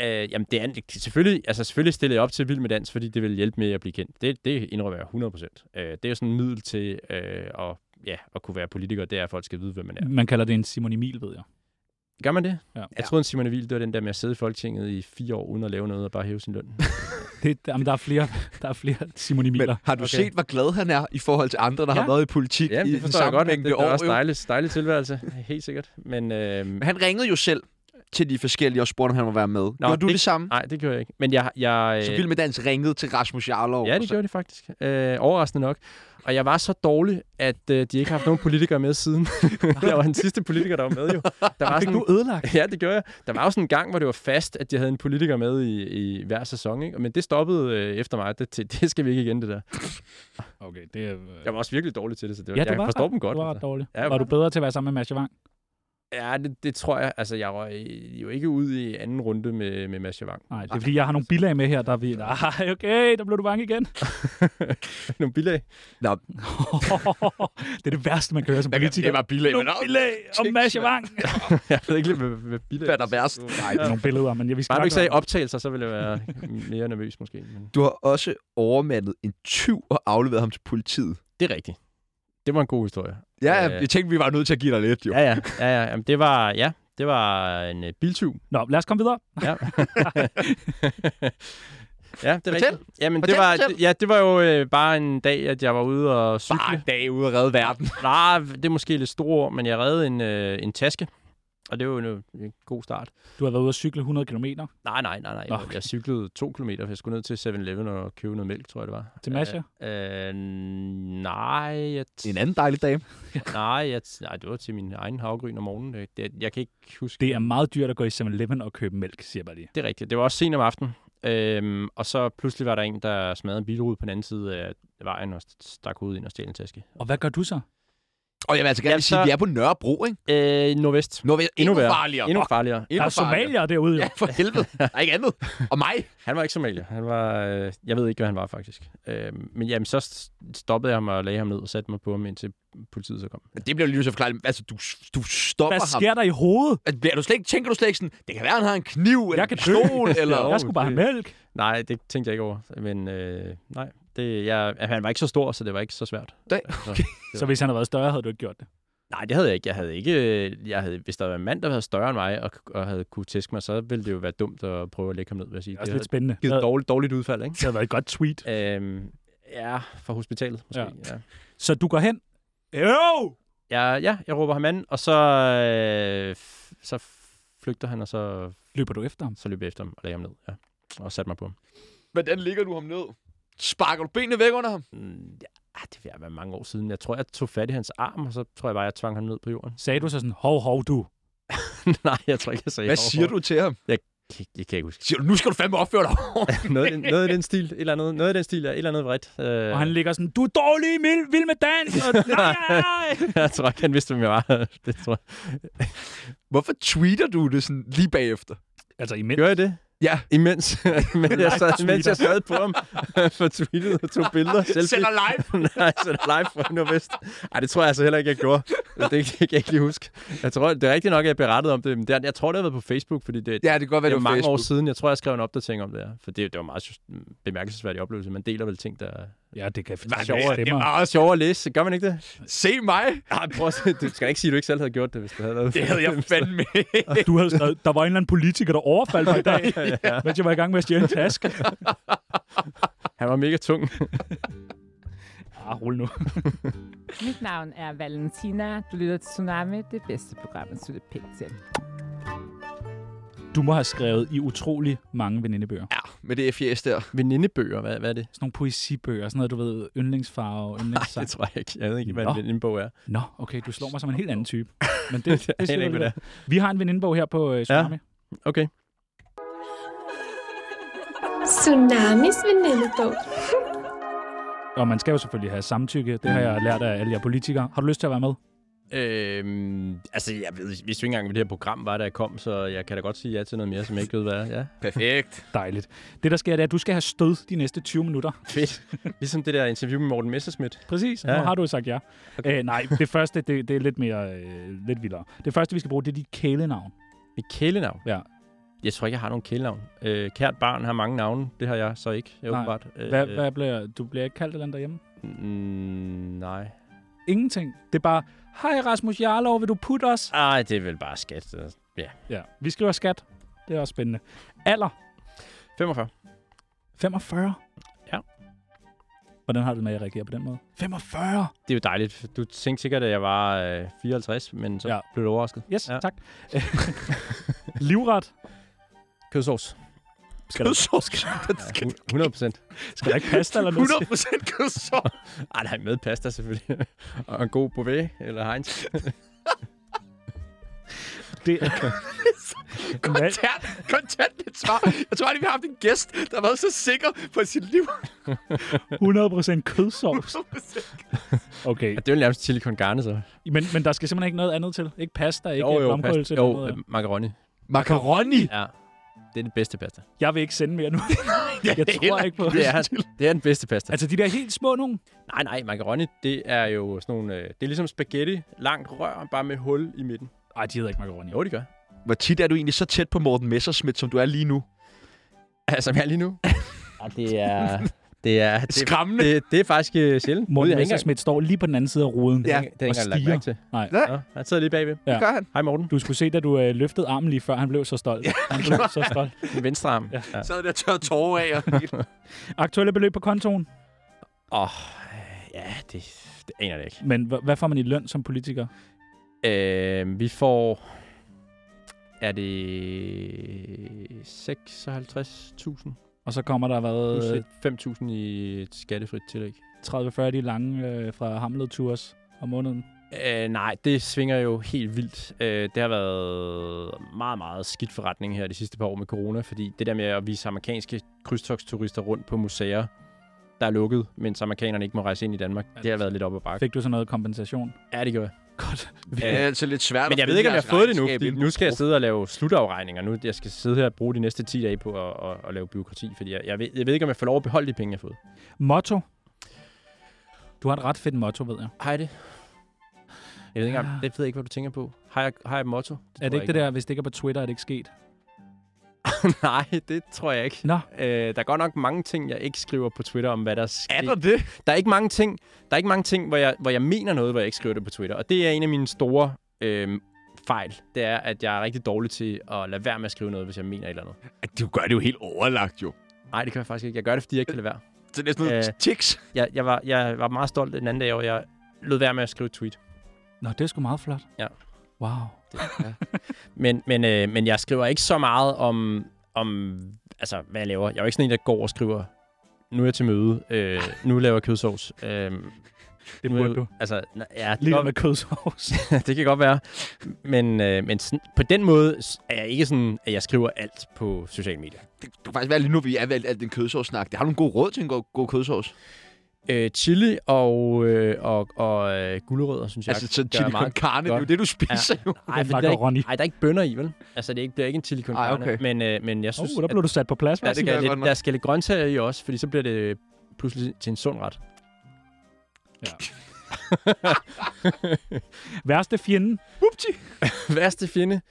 D: øh, jamen, det er, en- selvfølgelig, altså, selvfølgelig stillede jeg op til Vild Med Dans, fordi det ville hjælpe med at blive kendt. Det, det indrømmer jeg 100%. Øh, det er jo sådan en middel til øh, at, ja, at kunne være politiker. Det er, at folk skal vide, hvem man er.
C: Man kalder det en Simon Emil, ved jeg.
D: Gør man det?
C: Ja.
D: Jeg troede, en Simon Emil, det var den der med at sidde i Folketinget i fire år, uden at lave noget og bare hæve sin løn.
C: Det, jamen, der, er flere, der er flere Simon Emiler.
A: Men har du okay.
D: Okay.
A: set, hvor glad han er i forhold til andre, der ja.
D: Ja.
A: har været i politik
D: Ja,
A: i
D: det
A: den
D: forstår jeg godt. Det,
A: sammenhængende
D: det er
A: år?
D: også
A: jo?
D: dejlig, dejlig tilværelse, helt sikkert. Men øh,
A: Men han ringede jo selv til de forskellige og spurgte, om han må være med. Nå, Gjorde du det,
D: det-
A: det samme?
D: nej, det gjorde jeg ikke. Men jeg... jeg øh,
A: Så Vild med Dans ringede til Rasmus Jarlov.
D: ja,
A: og
D: det
A: så-
D: gjorde det faktisk. Øh, overraskende nok. Og jeg var så dårlig, at øh, de ikke har haft nogen politikere med siden. jeg var den sidste politiker, der var med jo. Der var sådan,
C: ødelagt?
D: Ja, det gjorde jeg. Der var jo sådan en gang, hvor det var fast, at jeg havde en politiker med i, i hver sæson. Ikke? Men det stoppede øh, efter mig. Det, det, det skal vi ikke igen, det der.
C: Okay, det er... Øh...
D: Jeg var også virkelig dårlig til det, så det var,
C: Ja,
D: jeg
C: du var
D: forstår
C: ret-
D: dem godt.
C: Du var
D: altså.
C: ret dårlig.
D: Ja,
C: var
D: jeg var-
C: du bedre til at være sammen med Masha Wang?
D: Ja, det, det tror jeg. Altså, jeg røg jo ikke ud i anden runde med, med Mads Javang.
C: Nej, det er fordi, jeg har nogle bilag med her, der er vi...
D: Ah.
C: Nej, okay, der blev du bange igen.
D: Nogle bilag.
C: det er det værste, man kan høre som politiker.
A: Det var bilag, men
C: nogle bilag om Masha Wang.
D: Jeg ved ikke, lige, hvad, hvad bilag
A: hvad er der værst? Nej,
C: Det er nogle billeder, men jeg, vi skal
D: Bare du
C: nok-
D: ikke sagde optagelser, så ville jeg være mere nervøs måske. Men...
A: Du har også overmandet en tyv og afleveret ham til politiet.
D: Det er rigtigt. Det var en god historie.
A: Ja,
D: Øh.
A: jeg tænkte, vi var nødt til at give dig lidt, jo.
D: Ja, ja. ja, ja. Jamen, det var, ja, det var en øh, biltyv.
C: Nå, lad os komme videre.
D: Ja. ja, det er
A: Fortæl.
D: rigtigt. Jamen,
A: Fortæl,
D: det var,
A: fortæl.
D: ja, det var jo øh, bare en dag, at jeg var ude og cykle.
A: Bare en dag ude at redde verden.
D: Nej, det er måske lidt store ord, men jeg reddede en, øh, en taske. Og det var jo en, en god start.
C: Du har været ude at cykle 100 km
D: Nej, nej, nej, nej.
C: Nå,
D: Jeg,
C: okay.
D: jeg cyklede to kilometer, for jeg skulle ned til 7-Eleven og købe noget mælk, tror jeg, det var.
C: til Masha.
D: Øh, øh, nej, jeg t-
A: En anden dejlig dame.
D: nej, jeg t- nej, det var til min egen havgryn om morgenen. Det, det, jeg kan ikke huske.
C: Det er meget dyrt at gå i 7-Eleven og købe mælk, siger jeg bare lige.
D: Det er rigtigt. Det var også sent om aftenen. Øhm, og så pludselig var der en, der smadrede en bilrude på den anden side af vejen og stak hovedet ind og stjal en taske.
C: Og hvad gør du så?
A: Og jeg vil altså gerne
D: Ja,
A: ja, sige,
D: så-
A: at vi er på Nørrebro, ikke?
D: Øh, nordvest.
A: Nu er vi endnu,
D: værre.
A: farligere.
D: Endnu
A: Fuck,
D: farligere.
A: endnu
C: Der er
A: farligere.
C: somalier derude, jo.
A: Ja, for helvede. Der er ikke andet. Og mig.
D: Han var ikke somalier. Han var, øh, jeg ved ikke, hvad han var faktisk. Øh, men jamen, så st- stoppede jeg ham og lagde ham ned og satte mig på ham, indtil politiet så kom.
A: Det bliver jo lige så forklaret. Altså, du, du stopper
C: Hvad
A: ham.
C: sker der i hovedet?
A: Altså, Bliver du slet ikke, tænker du slet ikke sådan, det kan være, han har en kniv eller
C: Jeg kan
A: en pistol, eller...
C: Jeg skulle bare have mælk.
D: Nej, det tænkte jeg ikke over. Men øh, nej, det, jeg, han var ikke så stor, så det var ikke så svært. Altså,
A: Nej,
D: okay.
C: Så hvis han havde været større, havde du ikke gjort det.
D: Nej, det havde jeg ikke. Jeg havde ikke jeg havde, hvis der var en mand, der havde været større end mig, og, og havde kunne tæske mig, så ville det jo være dumt at prøve at lægge ham ned, vil jeg sige.
C: Det er også
D: havde
C: lidt spændende. Det
D: givet
C: havde,
D: dårligt, dårligt udfald, ikke?
C: det havde været et godt tweet.
D: Øhm, ja, fra hospitalet måske. Ja.
C: Så du går hen. Jo!
D: Ja. ja, ja, jeg råber ham an, og så, øh, f- så flygter han, og så,
C: Løber du efter ham?
D: så løber jeg efter ham og lægger ham ned. Ja. Og satte mig på ham.
A: Hvordan ligger du ham ned? Sparker du benene væk under ham?
D: Mm, Ja, det vil jeg være mange år siden. Jeg tror, jeg tog fat i hans arm, og så tror jeg bare, jeg tvang ham ned på jorden.
C: Sagde du så sådan, hov, hov, du.
D: Nej, jeg tror ikke, jeg sagde
A: Hvad
D: hov,
A: siger
D: hov.
A: du til ham?
D: Det, det kan jeg ikke huske.
A: Siger du, nu skal du fandme opføre dig
D: noget, i den- noget i den stil, et eller andet, noget i den stil, ja, et eller andet vredt. Øh,
C: Og han ligger sådan, du er dårlig, mild, vild med dans. Og, nej, nej, nej.
D: jeg tror ikke, han vidste, hvem jeg var. det tror jeg.
A: Hvorfor tweeter du det sådan lige bagefter?
C: Altså imens.
D: Gjorde jeg det?
A: Ja.
D: Imens, men jeg sad,
C: tweeter.
D: mens jeg sad på ham for tweetet og tog billeder.
A: Sender live.
D: Nej, sender live fra Nordvest. Ej, det tror jeg altså heller ikke, jeg gjorde. Det, det kan jeg ikke lige huske. Jeg tror, det er rigtigt nok, at jeg berettede om det. Men det er, jeg tror, det har været på Facebook, fordi det,
A: Ja, det kan godt
D: det
A: være, det
D: er
A: var
D: mange
A: Facebook.
D: år siden. Jeg tror, jeg skrev en opdatering om det her. For det, det var en meget sy- bemærkelsesværdig oplevelse. Man deler vel ting, der er
C: Ja, det kan
A: Hvad
C: faktisk
A: med-
C: sjovere stemmer.
A: Ah,
D: sjovere at læse. Gør man ikke det?
A: Se mig.
D: Ej, prøv at, se. du skal da ikke sige, at du ikke selv havde gjort det, hvis du havde været.
A: Det havde jeg fandme ikke.
C: Du havde skrevet, der var en eller anden politiker, der overfaldt mig i dag, mens jeg var i gang med at stjæle en taske.
D: Han var mega tung.
C: Ah, rul nu.
G: Mit navn er Valentina. Du lytter til Tsunami, det bedste program, at slutte pænt til.
C: Du må have skrevet i utrolig mange venindebøger.
A: Ja, med det fjæs der.
D: Venindebøger, hvad, hvad er det?
C: Sådan nogle poesibøger, sådan noget, du ved, yndlingsfarve,
D: Det
C: yndlingssang.
D: tror jeg ikke. Jeg ved ikke, hvad
C: Nå.
D: en venindebog er.
C: Nå, okay, du slår mig som en helt anden type. Men det, det,
D: aner
C: siger
D: ikke,
C: du
D: hvad
C: lige. Vi har en venindebog her på øh, Tsunami.
D: Okay.
H: Tsunamis venindebog.
C: Og man skal jo selvfølgelig have samtykke. Det har jeg lært af alle jer politikere. Har du lyst til at være med?
D: Øhm, altså, jeg ved, vidste jo ikke engang, hvad det her program var, da jeg kom, så jeg kan da godt sige ja til noget mere, som jeg ikke ved, hvad er. Ja.
A: Perfekt.
C: Dejligt. Det, der sker, det er, at du skal have stød de næste 20 minutter.
D: Fedt. ligesom det der interview med Morten Messerschmidt.
C: Præcis. Ja.
D: Ja.
C: Nu har du jo sagt ja. Okay. Æ, nej, det første, det, det er lidt mere, øh, lidt vildere. Det første, vi skal bruge, det er dit kælenavn.
D: Mit kælenavn?
C: Ja.
D: Jeg tror ikke, jeg har nogen kælenavn. Øh, kært barn har mange navne. Det har jeg så ikke, jeg
C: Nej.
D: åbenbart. Øh,
C: Hvad, hvad bliver, du bliver ikke kaldt et eller andet derhjemme?
D: Mm, nej.
C: Ingenting. Det er bare, hej Rasmus Jarlov, vil du putte os?
D: Ej, det er vel bare skat.
C: Ja. Vi skriver skat. Det er også spændende. Alder?
D: 45.
C: 45.
D: Ja.
C: Hvordan har du det med at reagere på den måde? 45!
D: Det er jo dejligt. Du tænkte sikkert, at jeg var øh, 54, men så
C: Ja.
D: ja. blev du overrasket.
C: Yes, ja.
D: Ja.
C: tak. Livret?
D: Kødsovs.
C: Skal der,
D: Ja, hu- 100 procent.
C: skal der ikke pasta eller noget?
A: 100% kødsov.
D: Ej, Ah, nej, med pasta selvfølgelig. og en god bouvet, eller Heinz.
C: Det er,
A: Kontant, kontant et svar. Jeg tror aldrig, vi har haft en gæst, der har været så sikker på sit liv.
C: 100% kødsovs. Okay,
D: Ja, det er jo nærmest chili con carne, så.
C: men, men der skal simpelthen ikke noget andet til? Ikke pasta, ikke jo, jo, øhm. blomkålse?
D: pasta.
C: eller
D: jo
C: noget?
D: øh, macaroni.
A: Macaroni.
D: Ja, det er den bedste pasta.
C: Jeg vil ikke sende mere nu. jeg
A: det er
C: tror
A: heller
C: ikke på
D: Det er, det er den bedste pasta.
C: Altså, de der helt små nogen.
D: Nej, nej, macaroni, det er jo sådan nogle... Øh, det er ligesom spaghetti, langt rør, bare med hul i midten.
C: Nej, de hedder ikke macaroni.
D: Jo, det gør.
A: Hvor tit er du egentlig så tæt på Morten Messerschmidt, som du er lige nu?
D: Altså, som jeg er lige nu. ja, det er... Det er, det,
A: Skræmmende.
D: det, det er faktisk øh, sjældent. Gud,
C: Morten
D: jeg har ikke engang-
C: Messerschmidt står lige på den anden side af ruden.
D: Det har jeg ikke- det har jeg ikke
C: og
D: engang lagt mærke til.
C: Nej.
A: Nej.
D: Nå, han sidder lige bagved.
C: Ja.
A: gør han.
D: Hej Morten,
C: Du skulle se, da du øh, løftede armen lige før, han blev så stolt. Han blev så stolt.
D: din venstre arm. Ja. Ja.
A: Sad der tør tårer af. Og...
C: Aktuelle beløb på kontoen.
D: ja, det, det aner jeg ikke.
C: Men h- hvad får man i løn som politiker?
D: Øh, vi får... Er det 56.000
C: Og så kommer der
D: plus
C: været
D: et 5.000 Øh, i et skattefrit tillæg?
C: 30-40 af de lange øh, fra Hamlet Tours om måneden.
D: Øh, nej, det svinger jo helt vildt. Øh, det har været meget, meget skidt forretning her de sidste par år med corona, fordi det der med at vise amerikanske krydstogsturister rundt på museer, der er lukket, mens amerikanerne ikke må rejse ind i Danmark. Det har været lidt op ad bakke.
C: Fik du så noget kompensation?
D: Ja, det gjorde jeg.
C: Godt.
A: Det er altså lidt svært
D: Men jeg ved ikke, om jeg har fået det nu, fordi nu skal jeg sidde og lave slutafregninger. Nu jeg skal sidde her og bruge de næste 10 dage på at, at, at lave byråkrati, fordi jeg, jeg, ved, jeg ved ikke, om jeg får lov at beholde de penge, jeg har fået.
C: Motto. Du har et ret fedt motto, ved jeg.
D: Har jeg det? Jeg ved ikke engang,
C: Ja.
D: det ved jeg ikke, hvad du tænker på. Har jeg, har jeg et motto?
C: Er det ikke det der, hvis det ikke er på Twitter, er det ikke sket?
D: der? Nej, det tror jeg ikke.
C: Nå,
D: Øh, der er godt nok mange ting, jeg ikke skriver på Twitter om, hvad der sker.
A: Er der det?
D: Der er ikke mange ting, der er ikke mange ting hvor, jeg, hvor jeg mener noget, hvor jeg ikke skriver det på Twitter. Og det er en af mine store øh, fejl. Det er, at jeg er rigtig dårlig til at lade være med at skrive noget, hvis jeg mener et eller andet.
A: Du gør det jo helt overlagt, jo.
D: Nej, det kan jeg faktisk ikke. Jeg gør det, fordi jeg ikke kan lade være.
A: Så det er sådan noget
D: Øh.
A: tics.
D: Jeg, jeg, var, jeg var meget stolt den anden dag, og jeg lød være med at skrive et tweet.
C: Nå det er sgu meget flot.
D: Ja.
C: Wow.
D: Men, men, øh, men jeg skriver ikke så meget om, om, altså, hvad jeg laver. Jeg er jo ikke sådan en, der går og skriver, nu er jeg til møde, øh, nu laver jeg kødsovs. Øh,
C: Det
D: nu er
C: burde
D: jeg-
C: du.
D: Altså, n- ja, det,
C: Lige
D: kan
C: med kødsovs.
D: godt, det kan godt være. Men, øh, men sådan, på den måde s- er jeg ikke sådan, at jeg skriver alt på sociale medier.
A: Det du kan faktisk være lige nu, vi er ved alt- alt den kødsovssnak. Det har du en god råd til en god, god kødsovs.
D: Øh, chili og, øh, og, og øh, gulerødder, synes jeg.
A: altså, så
D: gør
A: chili con
D: meget
A: carne, det er jo
D: godt.
A: det, du spiser, jo.
D: Ej, for
C: Macaroni.
D: der er ikke, ej, der er ikke bønner i, vel? Altså, det er ikke, bliver ikke en chili con
A: Ej,
D: carne,
A: okay.
D: men, øh, men jeg synes,
C: Åh, oh, der blev du sat på plads.
D: Der
A: det
C: Martin.
A: kan jeg
D: skal,
A: godt
D: lidt,
A: nok.
D: der skal lidt grøntsager i også, fordi så bliver det pludselig til en sund ret.
C: Værste fjende.
D: Værste fjende?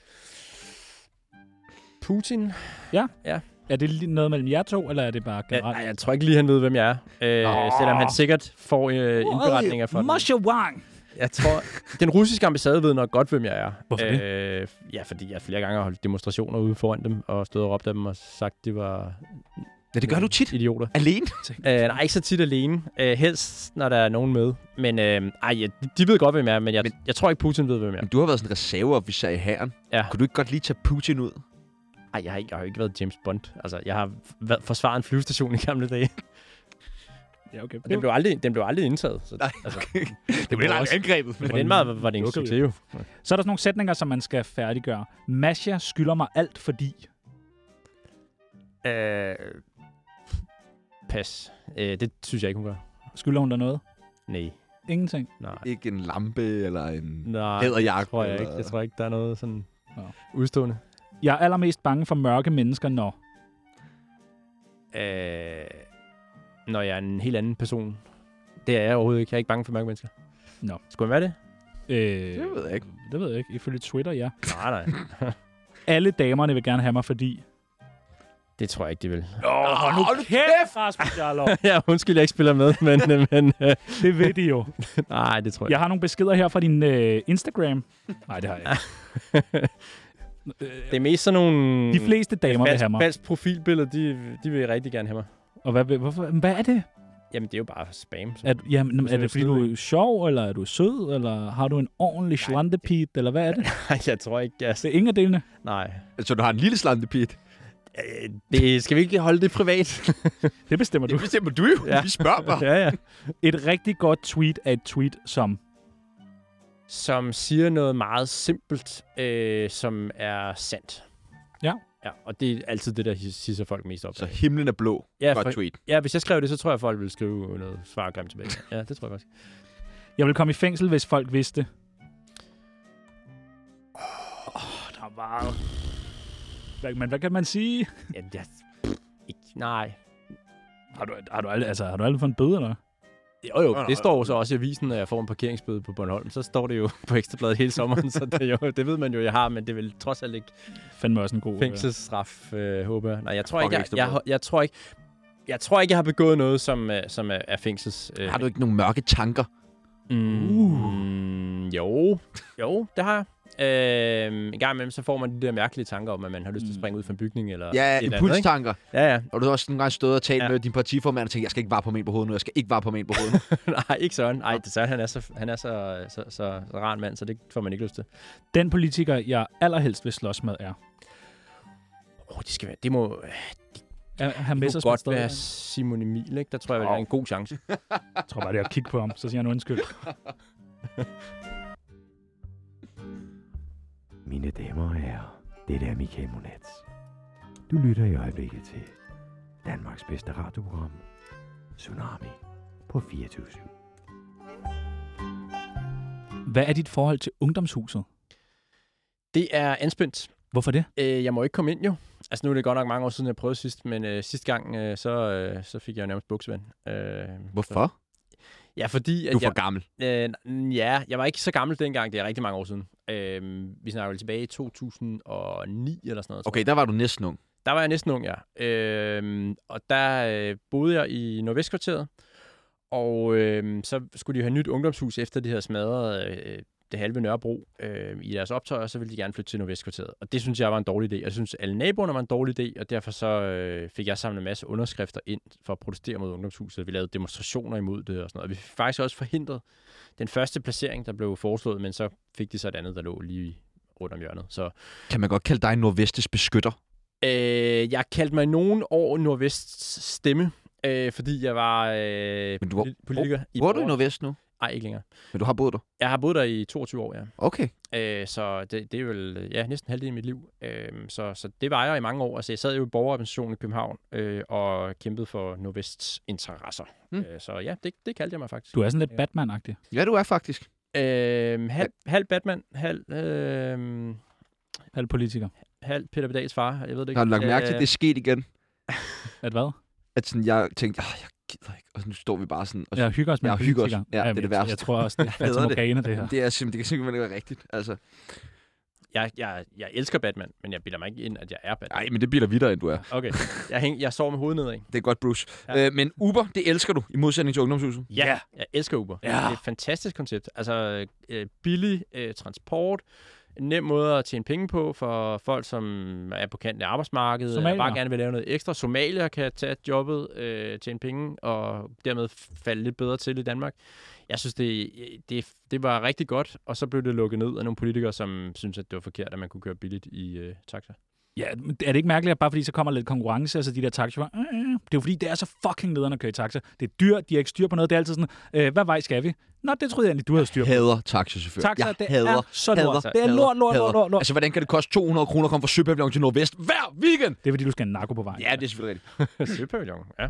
D: Putin?
C: Er det lige noget mellem jer to, eller er det bare
D: Ja,
C: generelt?
D: nej, jeg tror ikke lige, han ved, hvem jeg er. Øh, selvom han sikkert får øh, indberetninger fra den.
C: Moshe Wang.
D: Jeg tror, den russiske ambassade ved nok godt, hvem jeg er.
C: Hvorfor det?
D: øh, Ja, fordi jeg flere gange har holdt demonstrationer ude foran dem, og stået og råbt af dem og sagt, at de var
A: Ja, det gør du tit.
D: idioter.
A: Alene.
D: Øh, nej, ikke så tit alene. Øh, helst, når der er nogen med. Men øh, ej, ja, de ved godt, hvem jeg er, men jeg, men Mm. jeg tror ikke, Putin ved, hvem jeg er.
A: Men du har været sådan en reserveofficer i hæren.
D: Ja.
A: Kunne du ikke godt lige tage Putin ud?
D: Ej, jeg har, ikke, jeg har jo ikke været James Bond. Altså, jeg har været, forsvaret en flyvestation i gamle dage.
C: Ja, okay.
D: Og den blev aldrig, den blev aldrig indtaget. Så,
A: Nej,
D: altså,
A: Det blev aldrig angrebet.
D: på den måde var det en
C: Lukkede
D: succes jo.
C: Så er der sådan nogle sætninger, som man skal færdiggøre. Masha skylder mig alt, fordi...
D: Øh, pas. Øh, det synes jeg ikke, hun gør.
C: Skylder hun dig noget?
D: Nej.
C: Ingenting.
D: Nej.
A: Ikke en lampe eller en...
D: Nej,
A: Hæderjagt,
D: det tror jeg
A: eller-
D: ikke. Jeg tror ikke, der er noget sådan
C: Nå.
D: udstående.
C: Jeg er allermest bange for mørke mennesker, når...
D: Øh, når jeg er en helt anden person. Det er jeg overhovedet ikke. Jeg er ikke bange for mørke mennesker.
C: Nå.
D: Skulle man være det?
C: Øh,
A: Det ved jeg ikke.
C: det ved jeg ikke. Ifølge Twitter, ja.
D: Nej, nej.
C: Alle damerne vil gerne have mig, fordi...
D: Det tror jeg ikke, de vil.
C: Åh, oh, nu kæft, Rasmus Jarlov.
D: ja, undskyld, jeg ikke spiller med, men... men øh,
C: Det ved de jo.
D: nej, det tror jeg
C: Jeg har nogle beskeder her fra din øh, Instagram. Nej, det har jeg ikke.
D: Det er mest sådan nogle...
C: Øh, De fleste damer vil
D: falsk,
C: have mig.
D: falsk profilbilleder, de, de vil rigtig gerne have mig.
C: Og hvad, vil- hvorfor, hvad er det?
D: Jamen, det er jo bare spam. Så.
C: Er, du- jamen, er
D: sådan
C: det,
D: lidt
C: fordi
D: sød,
C: du er sjov, eller er du sød, eller har du en ordentlig slantepit, eller hvad er det?
D: Nej, jeg tror ikke, jeg...
C: Det er ingen af delene.
D: Nej.
A: Så du har en lille slantepit.
D: Øh, Det, skal vi ikke holde det privat?
C: Det bestemmer du.
A: Det bestemmer du jo.
D: Ja.
A: Vi spørger bare.
D: ja, ja.
C: Et rigtig godt tweet er et tweet, som...
D: Som siger noget meget simpelt, øh, som er sandt.
C: Ja.
D: Ja, og det er altid det, der his- hisser folk mest op.
A: Så
D: af.
A: himlen er blå.
D: ja,
A: Godt
D: for,
A: tweet.
D: ja, hvis jeg skrev det, så tror jeg, folk ville skrive noget svar grimt tilbage. Ja, det tror jeg faktisk.
C: Jeg vil komme i fængsel, hvis folk vidste. Oh, der var jo... Hvad- Men hvad kan man sige?
D: Ja, jeg, ikke, nej.
C: Har du, har du, aldrig, altså, har du aldrig fået en bøde, eller hvad?
D: Jo,
A: Nå, nå,
D: jo, det står
A: nå.
D: jo så også i avisen, når jeg får en parkeringsbøde på Bornholm. Så står det jo på Ekstrabladet hele sommeren, så det, jo, det ved man jo, jeg har, men det vil trods alt ikke
C: Fandme også en god... øh,
D: Fængselsstraf, øh, håber jeg. Nej, jeg tror,
A: Fuck,
D: ikke, jeg,
A: Ekstra
D: jeg, jeg,
A: Bladet.
D: jeg, tror ikke, jeg tror ikke, jeg har begået noget, som, øh, som er, er fængsels... Øh.
A: Har du ikke nogle mørke tanker?
D: Mm, uh. Jo, jo, det har jeg. Øh, en gang imellem, så får man de der mærkelige tanker om, at man har lyst til at springe ud fra Mm. en bygning eller
A: Ja,
D: et eller andet, ikke?
A: impulstanker.
D: Ja, ja.
A: Og du har også nogle gange stået og talt ja.
D: Ja.
A: med din partiformand og tænkt, jeg skal ikke bare på men på hovedet nu, jeg skal ikke bare på men på hovedet nu.
D: Nej, ikke sådan. Nej, det er Søren, han er så, han er så, så, så, så, så rar en mand, så det får man ikke lyst til.
C: Den politiker, jeg allerhelst vil slås med, er...
D: Åh, oh, det skal være... Det må,
C: er han
D: det må
C: Messersmith
D: godt
C: stadig-
D: være Simon Emil, ikke? Der tror jeg, jeg vil have en god chance.
C: Jeg tror bare, det er at kigge på ham, så siger han undskyld.
E: Mine damer og herrer, det er Michael Monats. Du lytter i øjeblikket til Danmarks bedste radioprogram, Tsunami på 24
C: Hvad er dit forhold til ungdomshuset?
D: Det er anspændt.
C: Hvorfor det?
D: Øh, jeg må ikke komme ind jo. Altså nu er det godt nok mange år siden, jeg prøvede sidst, men øh, sidste gang, øh, så, øh, så fik jeg jo nærmest buksevand. Øh,
A: Hvorfor?
D: ja, fordi... At
A: Du er
D: jeg,
A: for gammel.
D: Øh, n- ja, jeg var ikke så gammel dengang. Det er rigtig mange år siden. Øh, vi snakker vel tilbage i 2009 eller sådan noget. tror
A: Okay, der var du næsten ung.
D: Der var jeg næsten ung, ja. Øhm, og der øh, boede jeg i Nordvestkvarteret, og øhm, så skulle de have nyt ungdomshus, efter de havde smadret øh, det halve Nørrebro øh, i deres optøj, og så ville de gerne flytte til Nordvestkvarteret. Og det synes jeg var en dårlig idé, og det synes alle naboerne var en dårlig idé, og derfor så øh, fik jeg samlet en masse underskrifter ind for at protestere mod ungdomshuset. Vi lavede demonstrationer imod det og sådan noget, og vi fik faktisk også forhindret den første placering, der blev foreslået, men så fik de så et andet, der lå lige rundt om hjørnet. Så
A: Kan man godt kalde dig Nordvestes beskytter?
D: Øh, jeg kaldte mig nogen år Nordvests stemme, øh, fordi jeg var øh,
A: Men du var-
D: politi- politiker. i
A: Bor du i
D: Borger-
A: Nordvest nu?
D: Nej, ikke længere.
A: Men du har boet der.
D: Jeg har boet der i 22 år, ja.
A: Okay.
D: Øh, så det, det er vel ja, næsten halvdelen af mit liv. Øh, så, så det var jeg i mange år. Altså, jeg sad jo i borgerorganisationen i København øh, og kæmpede for Nordvests interesser.
A: Mm.
D: Mm. Øh, så ja, det, det kaldte jeg mig faktisk.
C: Du er sådan lidt
D: Ja.
C: Batman-agtig.
A: Ja, du er faktisk.
D: Øh, halv, halv Batman, halv, øh,
C: Halv politiker.
D: halv Peter Pedals far. Jeg ved det ikke.
A: Har du lagt mærke til, at
D: Øh,
A: det er sket igen?
C: At hvad?
A: At sådan, jeg tænkte, "Ah, jeg gider ikke. Og nu står vi bare sådan. Og
C: Jeg hygger os med
A: Ja,
C: en
A: hygger os.
C: politiker.
A: Ja, det er
C: Jamen,
A: det
C: jeg-
A: værste.
C: Jeg tror også, det er
A: hader
C: Fata
A: det.
C: Morgana, det her.
A: det, er simpelthen, det kan simpelthen ikke være rigtigt. Altså.
D: jeg, jeg, jeg elsker Batman, men jeg bilder mig ikke ind, at jeg er Batman.
A: Nej, men det bliver videre, end du er.
D: Okay, jeg, hæng, jeg sover med hovedet nedad. ikke?
A: Det er godt, Bruce. Ja.
D: Ja.
A: Øh, men Uber, det elsker du, i modsætning til Ungdomshuset.
D: Ja, jeg elsker Uber.
C: Ja.
D: Det er et fantastisk koncept. Altså øh, billig øh, transport, en nem måde at tjene penge på for folk, som er på kanten af arbejdsmarkedet,
C: Somalier.
D: og bare gerne vil lave noget ekstra. Somalier kan tage jobbet, øh, tjene penge, og dermed falde lidt bedre til i Danmark. Jeg synes, det, det, det var rigtig godt, og så blev det lukket ned af nogle politikere, som synes at det var forkert, at man kunne køre billigt i øh, taxa.
C: Ja, men er det ikke mærkeligt, at bare fordi så kommer lidt konkurrence, altså de der taxier, øh, øh, det er jo fordi, det er så fucking nederen at køre i taxa. Det er dyrt, de har ikke styr på noget. Det er altid sådan, øh, hvad vej skal vi? Nå, det troede jeg egentlig, du havde styr på.
A: Hader taxachauffører.
C: Taxa,
A: jeg
C: det
A: hader,
C: er så
A: hader,
C: lort. Det er lort, lort,
A: hader.
C: lort, lort, lort.
A: Altså, hvordan kan det koste 200 kroner at komme fra Søpavillon til Nordvest hver weekend?
C: Det er fordi, du skal have en narko på vejen.
A: Ja, det er selvfølgelig rigtigt.
D: Søpavillon, ja.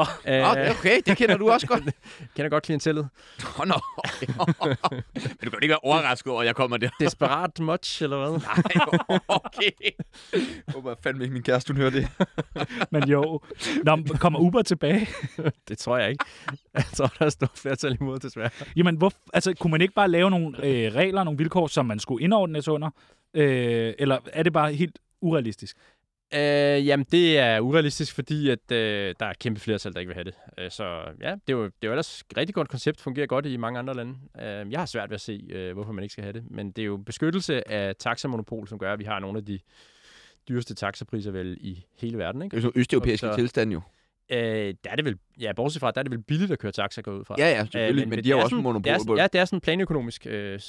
A: Nå,
D: Øh,
A: det er Ah, okay, det kender du også godt.
D: Kender godt klientellet.
A: Nå, nå. Okay. Men du kan jo ikke være overrasket over, at jeg kommer der.
D: Desperat much, eller hvad?
A: Nej, okay. Jeg håber fandme ikke, min kæreste, hun hører det.
C: men jo. Nå, men kommer Uber tilbage?
D: Det tror jeg ikke. Jeg tror, der er stort flertal imod, desværre.
C: Jamen, hvor, altså, kunne man ikke bare lave nogle øh, regler, nogle vilkår, som man skulle indordnes under? Øh, eller er det bare helt urealistisk?
D: Øh, jamen, det er urealistisk, fordi at, øh, der er et kæmpe flertal, der ikke vil have det. Øh, så ja, det er, jo, det er jo ellers et rigtig godt koncept, fungerer godt i mange andre lande. Øh, jeg har svært ved at se, øh, hvorfor man ikke skal have det. Men det er jo beskyttelse af taxamonopol, som gør, at vi har nogle af de dyreste taxapriser vel i hele verden.
A: Det
D: Ikke?
A: er jo sådan østeuropæiske
D: Så-
A: tilstand jo.
D: Øh, der er det vel, ja, bortset fra, der er det vel billigt at køre taxa går jeg ud fra.
A: Ja, ja, selvfølgelig, Øh, men, men de
D: Øh, det
A: har
D: er
A: jo også
D: sådan-
A: monopol
D: det er,
A: på
D: sådan- Ja, det er sådan en planøkonomisk øh,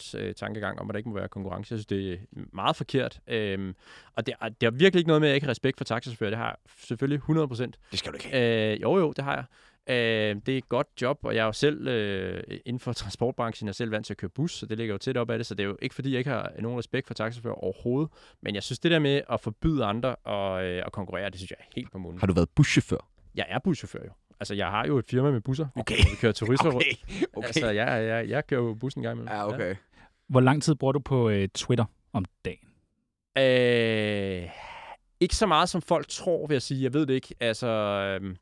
D: sovjet-tankegang om, at der ikke må være konkurrence. Jeg synes, det er meget forkert. Øhm, og det, er, det har virkelig ikke noget med, at jeg ikke har respekt for taxachauffører. Det har jeg selvfølgelig 100 procent.
A: Det skal du ikke have.
D: Øh, jo, jo, det har jeg. Øh, det er et godt job, og jeg er jo selv øh, inden for transportbranchen, jeg er selv vant til at køre bus, så det ligger jo tæt op af det, så det er jo ikke fordi, jeg ikke har nogen respekt for taxachauffører overhovedet, men jeg synes det der med at forbyde andre og, øh, at konkurrere, det synes jeg er helt på munden.
A: Har du været buschauffør?
D: Jeg er buschauffør jo. Altså, jeg har jo et firma med busser.
A: Okay.
D: Vi kører turister rundt.
A: Okay,
D: Altså,
A: okay.
D: jeg, jeg, jeg kører jo bussen en gang imellem.
A: Ja, okay.
C: Hvor lang tid bruger du på øh, Twitter om dagen?
D: Ja. Øh, ikke så meget, som folk tror, vil jeg sige. Jeg ved det ikke. Altså, øhm,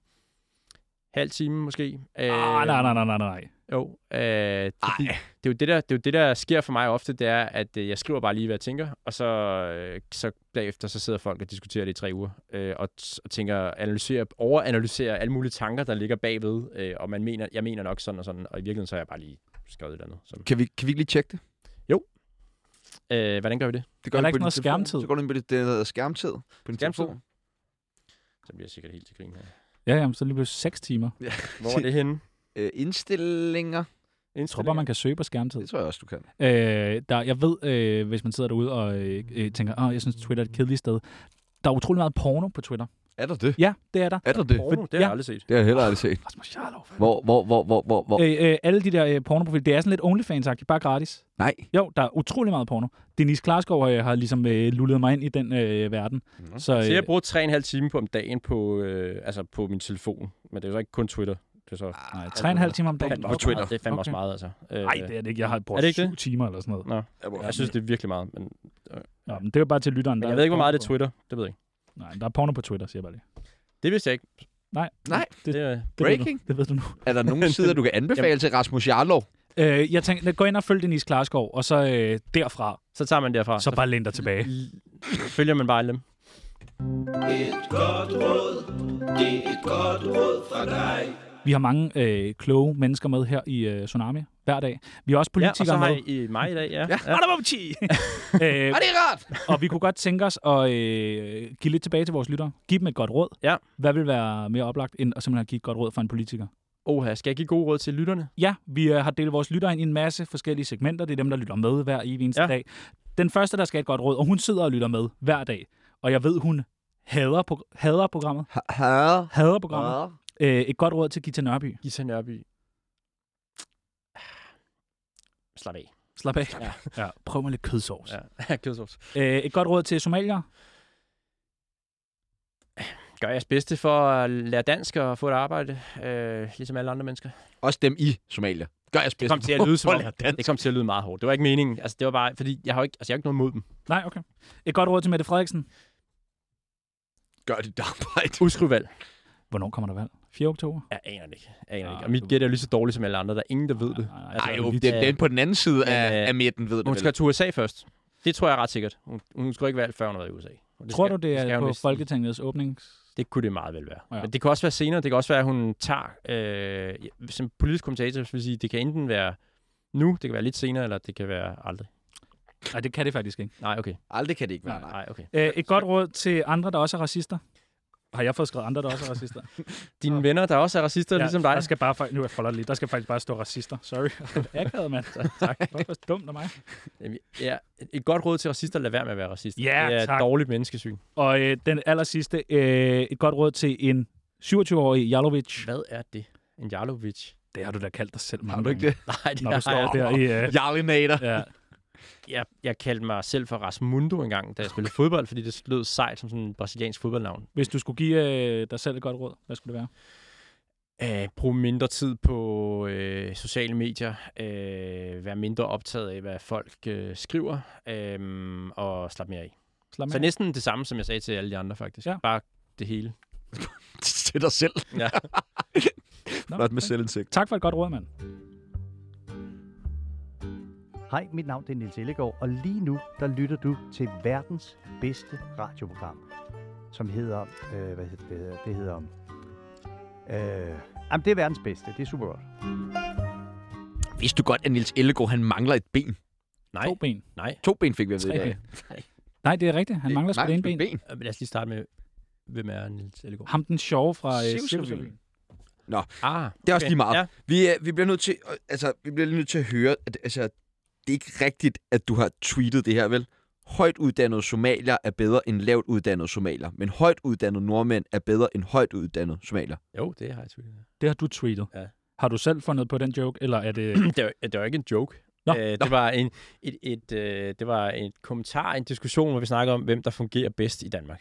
D: halv time måske. Øh,
C: Ah, nej, nej, nej, nej, nej.
D: Jo, øh, fordi
A: Ej.
D: det er jo det, der, det er jo det, der sker for mig ofte, det er, at øh, jeg skriver bare lige, hvad jeg tænker, og så, øh, så bagefter så sidder folk og diskuterer det i tre uger, øh, og, t- og tænker, analyserer, overanalyserer alle mulige tanker, der ligger bagved, øh, og man mener, jeg mener nok sådan og sådan, og i virkeligheden så har jeg bare lige skrevet et eller andet. Som,
A: Kan vi, kan vi ikke lige tjekke det?
D: øh, hvordan gør vi det?
A: Det
C: Er der
A: vi på
C: ikke
A: din
C: noget
A: telefon.
C: skærmtid?
A: Så går du ind på det, det der hedder skærmtid. På din
D: Skærmtid?
A: telefon.
D: Så bliver jeg sikkert helt til grin her.
C: Ja, jamen, så lige pludselig 6 timer.
D: Hvor er det henne?
A: Øh, indstillinger.
C: Jeg tror bare, man kan søge på skærmtid.
A: Det tror jeg også, du kan.
C: Øh, der, jeg ved, øh, hvis man sidder derude og øh, øh, tænker, at jeg synes, Twitter er et kedeligt sted. Der er utrolig meget porno på Twitter.
A: Er der det?
C: Ja, det er der.
A: Er der det?
D: Porno, det har
C: ja.
D: jeg aldrig set.
A: Det har jeg heller aldrig set.
C: Rasmus Jarlov.
A: Hvor, hvor, hvor, hvor, hvor, hvor?
C: Øh, øh, alle de der øh, pornoprofiler, det er sådan lidt onlyfans bare gratis.
A: Nej.
C: Jo, der er utrolig meget porno. Denise Klarskov øh, har ligesom øh, lullet mig ind i den øh, verden. Mm. Så, øh,
D: Så jeg bruger 3,5 timer på om dagen på, øh, altså på min telefon. Men det er jo så ikke kun Twitter. Det er så
C: nej, tre og en halv time om dagen.
D: fandme
A: på
D: også
A: Twitter.
D: Meget. Det er fandme okay. også
C: Okay.
D: meget, altså. Øh,
C: Nej, det er det ikke. Jeg har
D: Er
C: brugt
D: det ikke
C: syv
D: det?
C: timer eller sådan noget.
D: Nå. Jeg synes, det er virkelig meget. Men,
C: Nå, men det er bare til lytteren.
D: men
C: der
D: jeg ved ikke, hvor meget det er
C: porno
D: Twitter. Det ved jeg ikke.
C: på- Nej, der er porno på Twitter, siger jeg bare lige.
D: Det vidste jeg ikke.
C: Nej,
A: Nej.
C: Det-
D: Det, øh,
C: det ved du.
A: Breaking.
C: Det ved du nu.
A: Er der nogen sider, du kan anbefale til Rasmus Jarlov?
C: Øh, jeg tænkte, gå ind og følg Denise Klarskov, og så øh, derfra,
D: så tager man derfra.
C: så bare læn dig tilbage.
D: følger man bare dem.
C: Vi har mange øh, kloge mennesker med her i øh, Tsunami hver dag. Vi har også
D: Ja, og så
C: politikere
D: har
C: med.
D: I, i mig i dag, ja. ja.
C: Ja. øh,
A: Er det rart?
C: og vi kunne godt tænke os at øh, give lidt tilbage til vores lyttere. Giv dem et godt råd.
D: Ja.
C: Hvad vil være mere oplagt, end at simpelthen give et godt råd fra en politiker?
D: Oha, skal jeg give gode råd til lytterne?
C: Ja, vi øh, har delt vores lyttere ind i en masse forskellige segmenter. Det er dem, der lytter med hver evig eneste ja.
D: Ja.
C: dag. Den første, der skal have et godt råd, og hun sidder og lytter med hver dag. Og jeg ved, hun hader, pro- hader programmet.
A: Herre.
C: Hader programmet. Øh, et godt råd til Gita Nørby.
D: Gita Nørby. Slap af.
C: Slap af. Ja. Ja. Prøv med lidt kødsovs.
D: Ja, kødsovs.
C: Ja. Øh, et godt råd til somalier.
D: Gør jeres bedste for at lære dansk og få et arbejde, øh, ligesom alle andre mennesker.
A: Også dem i Somalia. Gør jeres bedste.
D: kom til at lyde som om-
A: Hold da.
D: Det kom til at lyde meget hårdt. Det var ikke meningen. Altså, det var bare, fordi jeg har jo ikke, altså, jeg har ikke noget mod dem.
C: Nej, okay. Et godt råd til Mette Frederiksen.
A: Gør dit arbejde.
D: Udskriv valg.
C: Hvornår kommer der valg? 4. oktober?
D: Jeg aner det ikke. Jeg aner det
C: Nej,
D: ikke. Og mit
C: du-
D: gæt er jo lige så dårligt som alle andre. Der er ingen, der ved det.
C: Nej, nej,
A: Nej, jo,
D: vi-
A: det er den på den anden side
D: Men,
A: af,
D: øh,
A: af midten, ved du
D: Hun
A: vel.
D: skal til USA først. Det tror jeg ret sikkert. Hun, hun skal ikke valg, før hun har været i USA. Og
C: Tror
D: skal-
C: du, det
D: skal
C: er
D: hun
C: på
D: vist.
C: Folketingets åbnings...
D: Det kunne det meget vel være.
C: Ja.
D: Ja. Men det kan også være senere. Det kan også være, at hun tager... Øh, som politisk kommentator så vil jeg sige, det kan enten være nu, det kan være lidt senere, eller det kan være aldrig.
C: Nej, det kan det faktisk ikke.
D: Nej, okay.
A: Aldrig kan det ikke være.
C: Nej.
A: Nej.
D: Nej, okay.
C: Øh, et godt råd til andre, der også er racister. Har jeg fået skrevet andre, der også er racister?
D: Dine venner, der også er racister, ja, ligesom dig.
C: Der skal bare, fa- nu jeg folder lidt. Der skal faktisk bare stå racister. Sorry. Akavet, mand. tak. Det var dumt af mig.
D: Jamen, Ja, et godt råd til racister, lad være med at være racist.
C: Ja,
D: det er
C: tak.
D: et dårligt menneskesyn.
C: Og øh, den aller sidste. Øh, et godt råd til en 27-årig Jalovic.
D: Hvad er det? En Jarlovic?
C: Det har du da kaldt dig selv.
A: Har du ikke det?
D: Nej, det
C: Når du
D: har jeg
C: står der i... Øh,
A: Jarlinator.
C: ja.
D: jeg, jeg kaldte mig selv for Rasmundo engang, da jeg spillede fodbold, fordi det lød sejt som sådan en brasiliansk fodboldnavn.
C: Hvis du skulle give øh, dig selv et godt råd, hvad skulle det være?
D: Øh, brug mindre tid på øh, sociale medier. Øh, vær mindre optaget af, hvad folk øh, skriver. Øh, og slap mere af.
C: Slap
D: Så
C: af.
D: næsten det samme, som jeg sagde til alle de andre, faktisk.
C: Ja.
D: Bare det hele.
A: til dig selv.
D: Ja.
C: Nå,
A: Flot med selvindsigt.
C: Tak for et godt råd, mand.
I: Hej, mit navn det er Nils Ellegaard, og lige nu der lytter du til verdens bedste radioprogram, som hedder, øh, hvad hedder det, det hedder, øh, jamen det er verdens bedste, det er super godt.
A: Vidste du godt, at Nils Ellegaard, han mangler et ben?
D: Nej,
C: To ben.
D: nej.
A: To ben fik vi at vide.
C: Tre
A: i dag.
C: ben. Nej, det er rigtigt. Han mangler sgu
A: Nej,
C: det ene ben.
D: Øh, men Lad os lige starte med, hvem er Niels Ellegaard?
C: Ham den sjove fra øh,
A: Cirkusrevyen.
C: Cirkusrevyen.
D: Ah,
A: Det er også
D: okay.
A: lige meget.
D: Ja.
A: Vi, øh, vi bliver nødt til, øh, altså, vi bliver lige nødt til at høre, at altså, det er ikke rigtigt, at du har tweetet det her, vel? Højt uddannede somalier er bedre end lavt uddannede somalier, men højt uddannede nordmænd er bedre end højt uddannede somalier.
D: Jo, det har jeg tvivlet.
C: Det har du tweetet.
D: Ja.
C: Har du selv fundet på den joke, eller er det...
D: det, var, det var ikke en joke.
C: Nå,
D: Nå, øh, det, var en, et, et, øh, det var en kommentar, en diskussion, hvor vi snakker om, hvem der fungerer bedst i Danmark.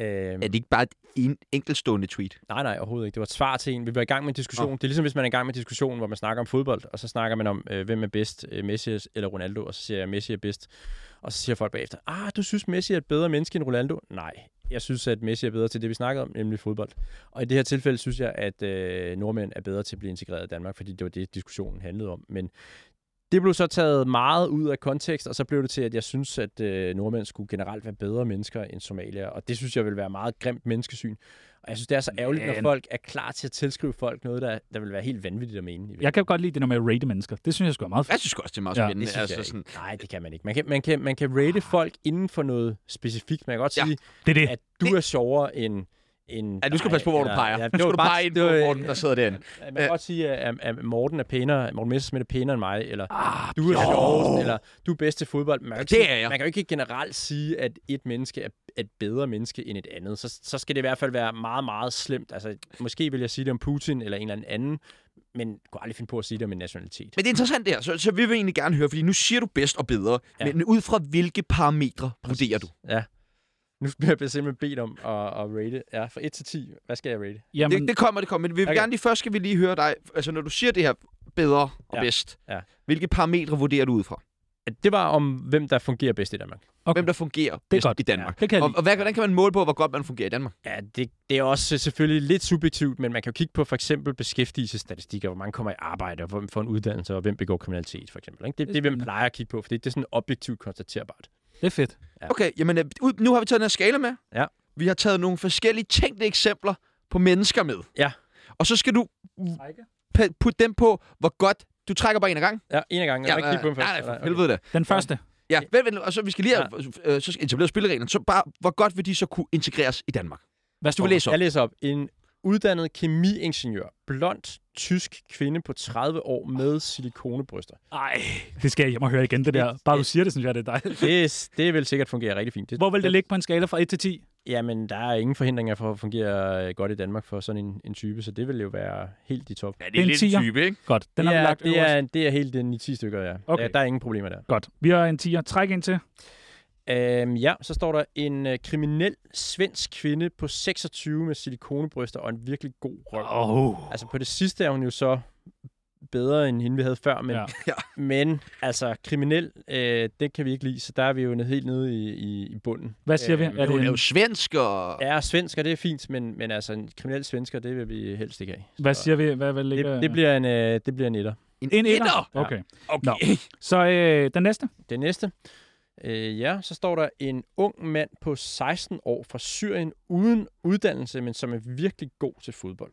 D: Øh,
A: Er det ikke bare et en, enkeltstående tweet?
D: nej, nej, overhovedet ikke. Det var et svar til en. Vi var i gang med en diskussion. Det er ligesom, hvis man er i gang med en diskussion, hvor man snakker om fodbold, og så snakker man om, øh, hvem er bedst, øh, Messi eller Ronaldo, og så siger jeg, Messi er bedst. Og så siger folk bagefter, ah, du synes, Messi er et bedre menneske end Ronaldo? Nej, jeg synes, at Messi er bedre til det, vi snakker om, nemlig fodbold. Og i det her tilfælde synes jeg, at øh, nordmænd er bedre til at blive integreret i Danmark, fordi det var det, diskussionen handlede om. Men det blev så taget meget ud af kontekst, og så blev det til, at jeg synes, at øh, nordmænd skulle generelt være bedre mennesker end somalier. Og det synes jeg vil være meget grimt menneskesyn. Og jeg synes, det er så ærgerligt,
C: Men-
D: når folk er klar til at tilskrive folk noget, der, der vil være helt vanvittigt at mene. i
C: Jeg kan godt lide det der med at rate mennesker. Det synes jeg sgu er meget
A: Jeg
C: fedt.
A: synes også, det er meget
C: Ja,
A: spændende.
D: det synes
A: altså,
D: jeg
A: sådan, Ah.
D: Nej, det kan man ikke. Man kan, man kan, man kan rate folk inden for noget specifikt. Man kan godt
A: Ja.
D: sige,
C: Det er det.
D: at du er sjovere end en...
A: Ja, du skal passe på, hvor du
D: eller-
A: peger.
D: Ja,
A: Ja,
D: det
A: nu skal
D: var
A: du
D: bare-
A: pege ind
D: det
A: på
D: var-
A: Morten, der sidder derinde.
D: Man kan
A: Øh.
D: godt sige, at, at Morten er pænere, Morten Messerschmidt er pænere end mig, eller
C: Ah,
D: du er sjovest, eller du er bedst til fodbold. Man kan, jo ikke
A: Det
D: sige-
A: er jeg.
D: man kan jo ikke generelt sige, at et menneske er er et bedre menneske end et andet. Så, så skal det i hvert fald være meget, meget slemt. Altså, måske vil jeg sige det om Putin eller en eller anden, men kunne aldrig finde på at sige det om en nationalitet.
A: Men det er interessant det her, så, så vi vil egentlig gerne høre, fordi nu siger du bedst og bedre,
D: Ja.
A: ja. men ud fra hvilke parametre Præcis. vurderer du?
D: Ja. Nu bliver jeg simpelthen bedt om at, at rate. Ja, fra 1 til 10. Hvad skal jeg rate?
C: Jamen,
A: Det, det kommer, det kommer, men vi vil
D: Okay.
A: okay. gerne lige først skal vi lige høre dig, altså når du siger det her bedre og
D: Ja.
A: ja. bedst,
D: Ja.
A: ja. hvilke parametre vurderer du ud fra?
D: At Det var om, hvem der fungerer bedst i Danmark.
C: Okay.
A: Hvem der fungerer det bedst
C: godt.
A: i Danmark?
C: det kan jeg
A: Og, og hvad, hvordan kan man måle på, hvor godt man fungerer i Danmark?
D: Ja, det, det er også øh, selvfølgelig lidt subjektivt, men man kan jo kigge på for eksempel beskæftigelsesstatistikker, hvor mange kommer i arbejde, og hvem får en uddannelse, og hvem begår kriminalitet, for eksempel. Ikke? Det,
C: Det
D: det
C: er
D: er det, man
C: spændende.
D: plejer at kigge på, for det, det er sådan objektivt konstaterbart.
C: Det er fedt.
D: Ja.
A: Okay, jamen øh, ud, nu har vi taget den her skala med.
D: Ja.
A: Vi har taget nogle forskellige tænkte eksempler på mennesker med.
D: Ja.
A: Og så skal du pa- putte dem på, hvor godt... Du trækker bare en af gangen.
D: Ja, en af gangen. Ja, ikke kigge på dem først.
A: nej, nej,
D: Eller-
A: for helvede da.
C: Den første.
A: Ja, vent, vent, og så vi skal lige have, øh, så skal etablere spillereglerne. Så bare, hvor godt vil de så kunne integreres i Danmark?
C: Hvad
A: Du vil læse op.
D: Jeg læser op. En uddannet kemiingeniør, blond, tysk kvinde på 30 år med silikonebryster.
C: Ej, det skal jeg hjem og høre igen, det der. Bare du siger det, synes jeg, det er dejligt.
D: Det, det vil sikkert fungere rigtig fint.
C: Hvor vil det ligge på en skala fra 1 til 10?
D: Jamen, der er ingen forhindringer for at fungere øh, godt i Danmark for sådan en, en type, så det vil jo være helt i top.
A: Ja,
C: det er en lidt en tier.
A: type, ikke?
C: Godt, den
D: det
C: har vi
D: er,
C: lagt
D: det
C: øverst.
D: er, det er helt den i 10 stykker, ja.
C: Okay.
D: ja. Der er ingen problemer der.
C: Godt, vi har en 10'er. Træk ind til.
D: Øhm, ja, så står der en øh, kriminel svensk kvinde på 26 med silikonebryster og en virkelig god røv.
C: Oh.
D: Altså på det sidste er hun jo så bedre end hende, vi havde før, men,
C: Ja.
A: Ja.
D: men altså kriminel, øh, det kan vi ikke lide, så der er vi jo nede- helt nede i, i, i bunden.
C: Hvad siger vi?
D: Øhm,
C: Er
A: Hun er jo
C: det
A: svensk, og...
D: Ja, svensker, det er fint, men, men altså en kriminel svensker, det vil vi helst ikke have.
C: en, hvad siger vi? Hvad, hvad ligger?
D: Det, det, bliver en, øh, det bliver en etter.
C: en etter.
A: etter?
C: Okay.
A: Okay.
C: Nå. Så øh, den næste.
D: Det næste. Øh, ja, så står der en ung mand på 16 år fra Syrien uden uddannelse, men som er virkelig god til fodbold.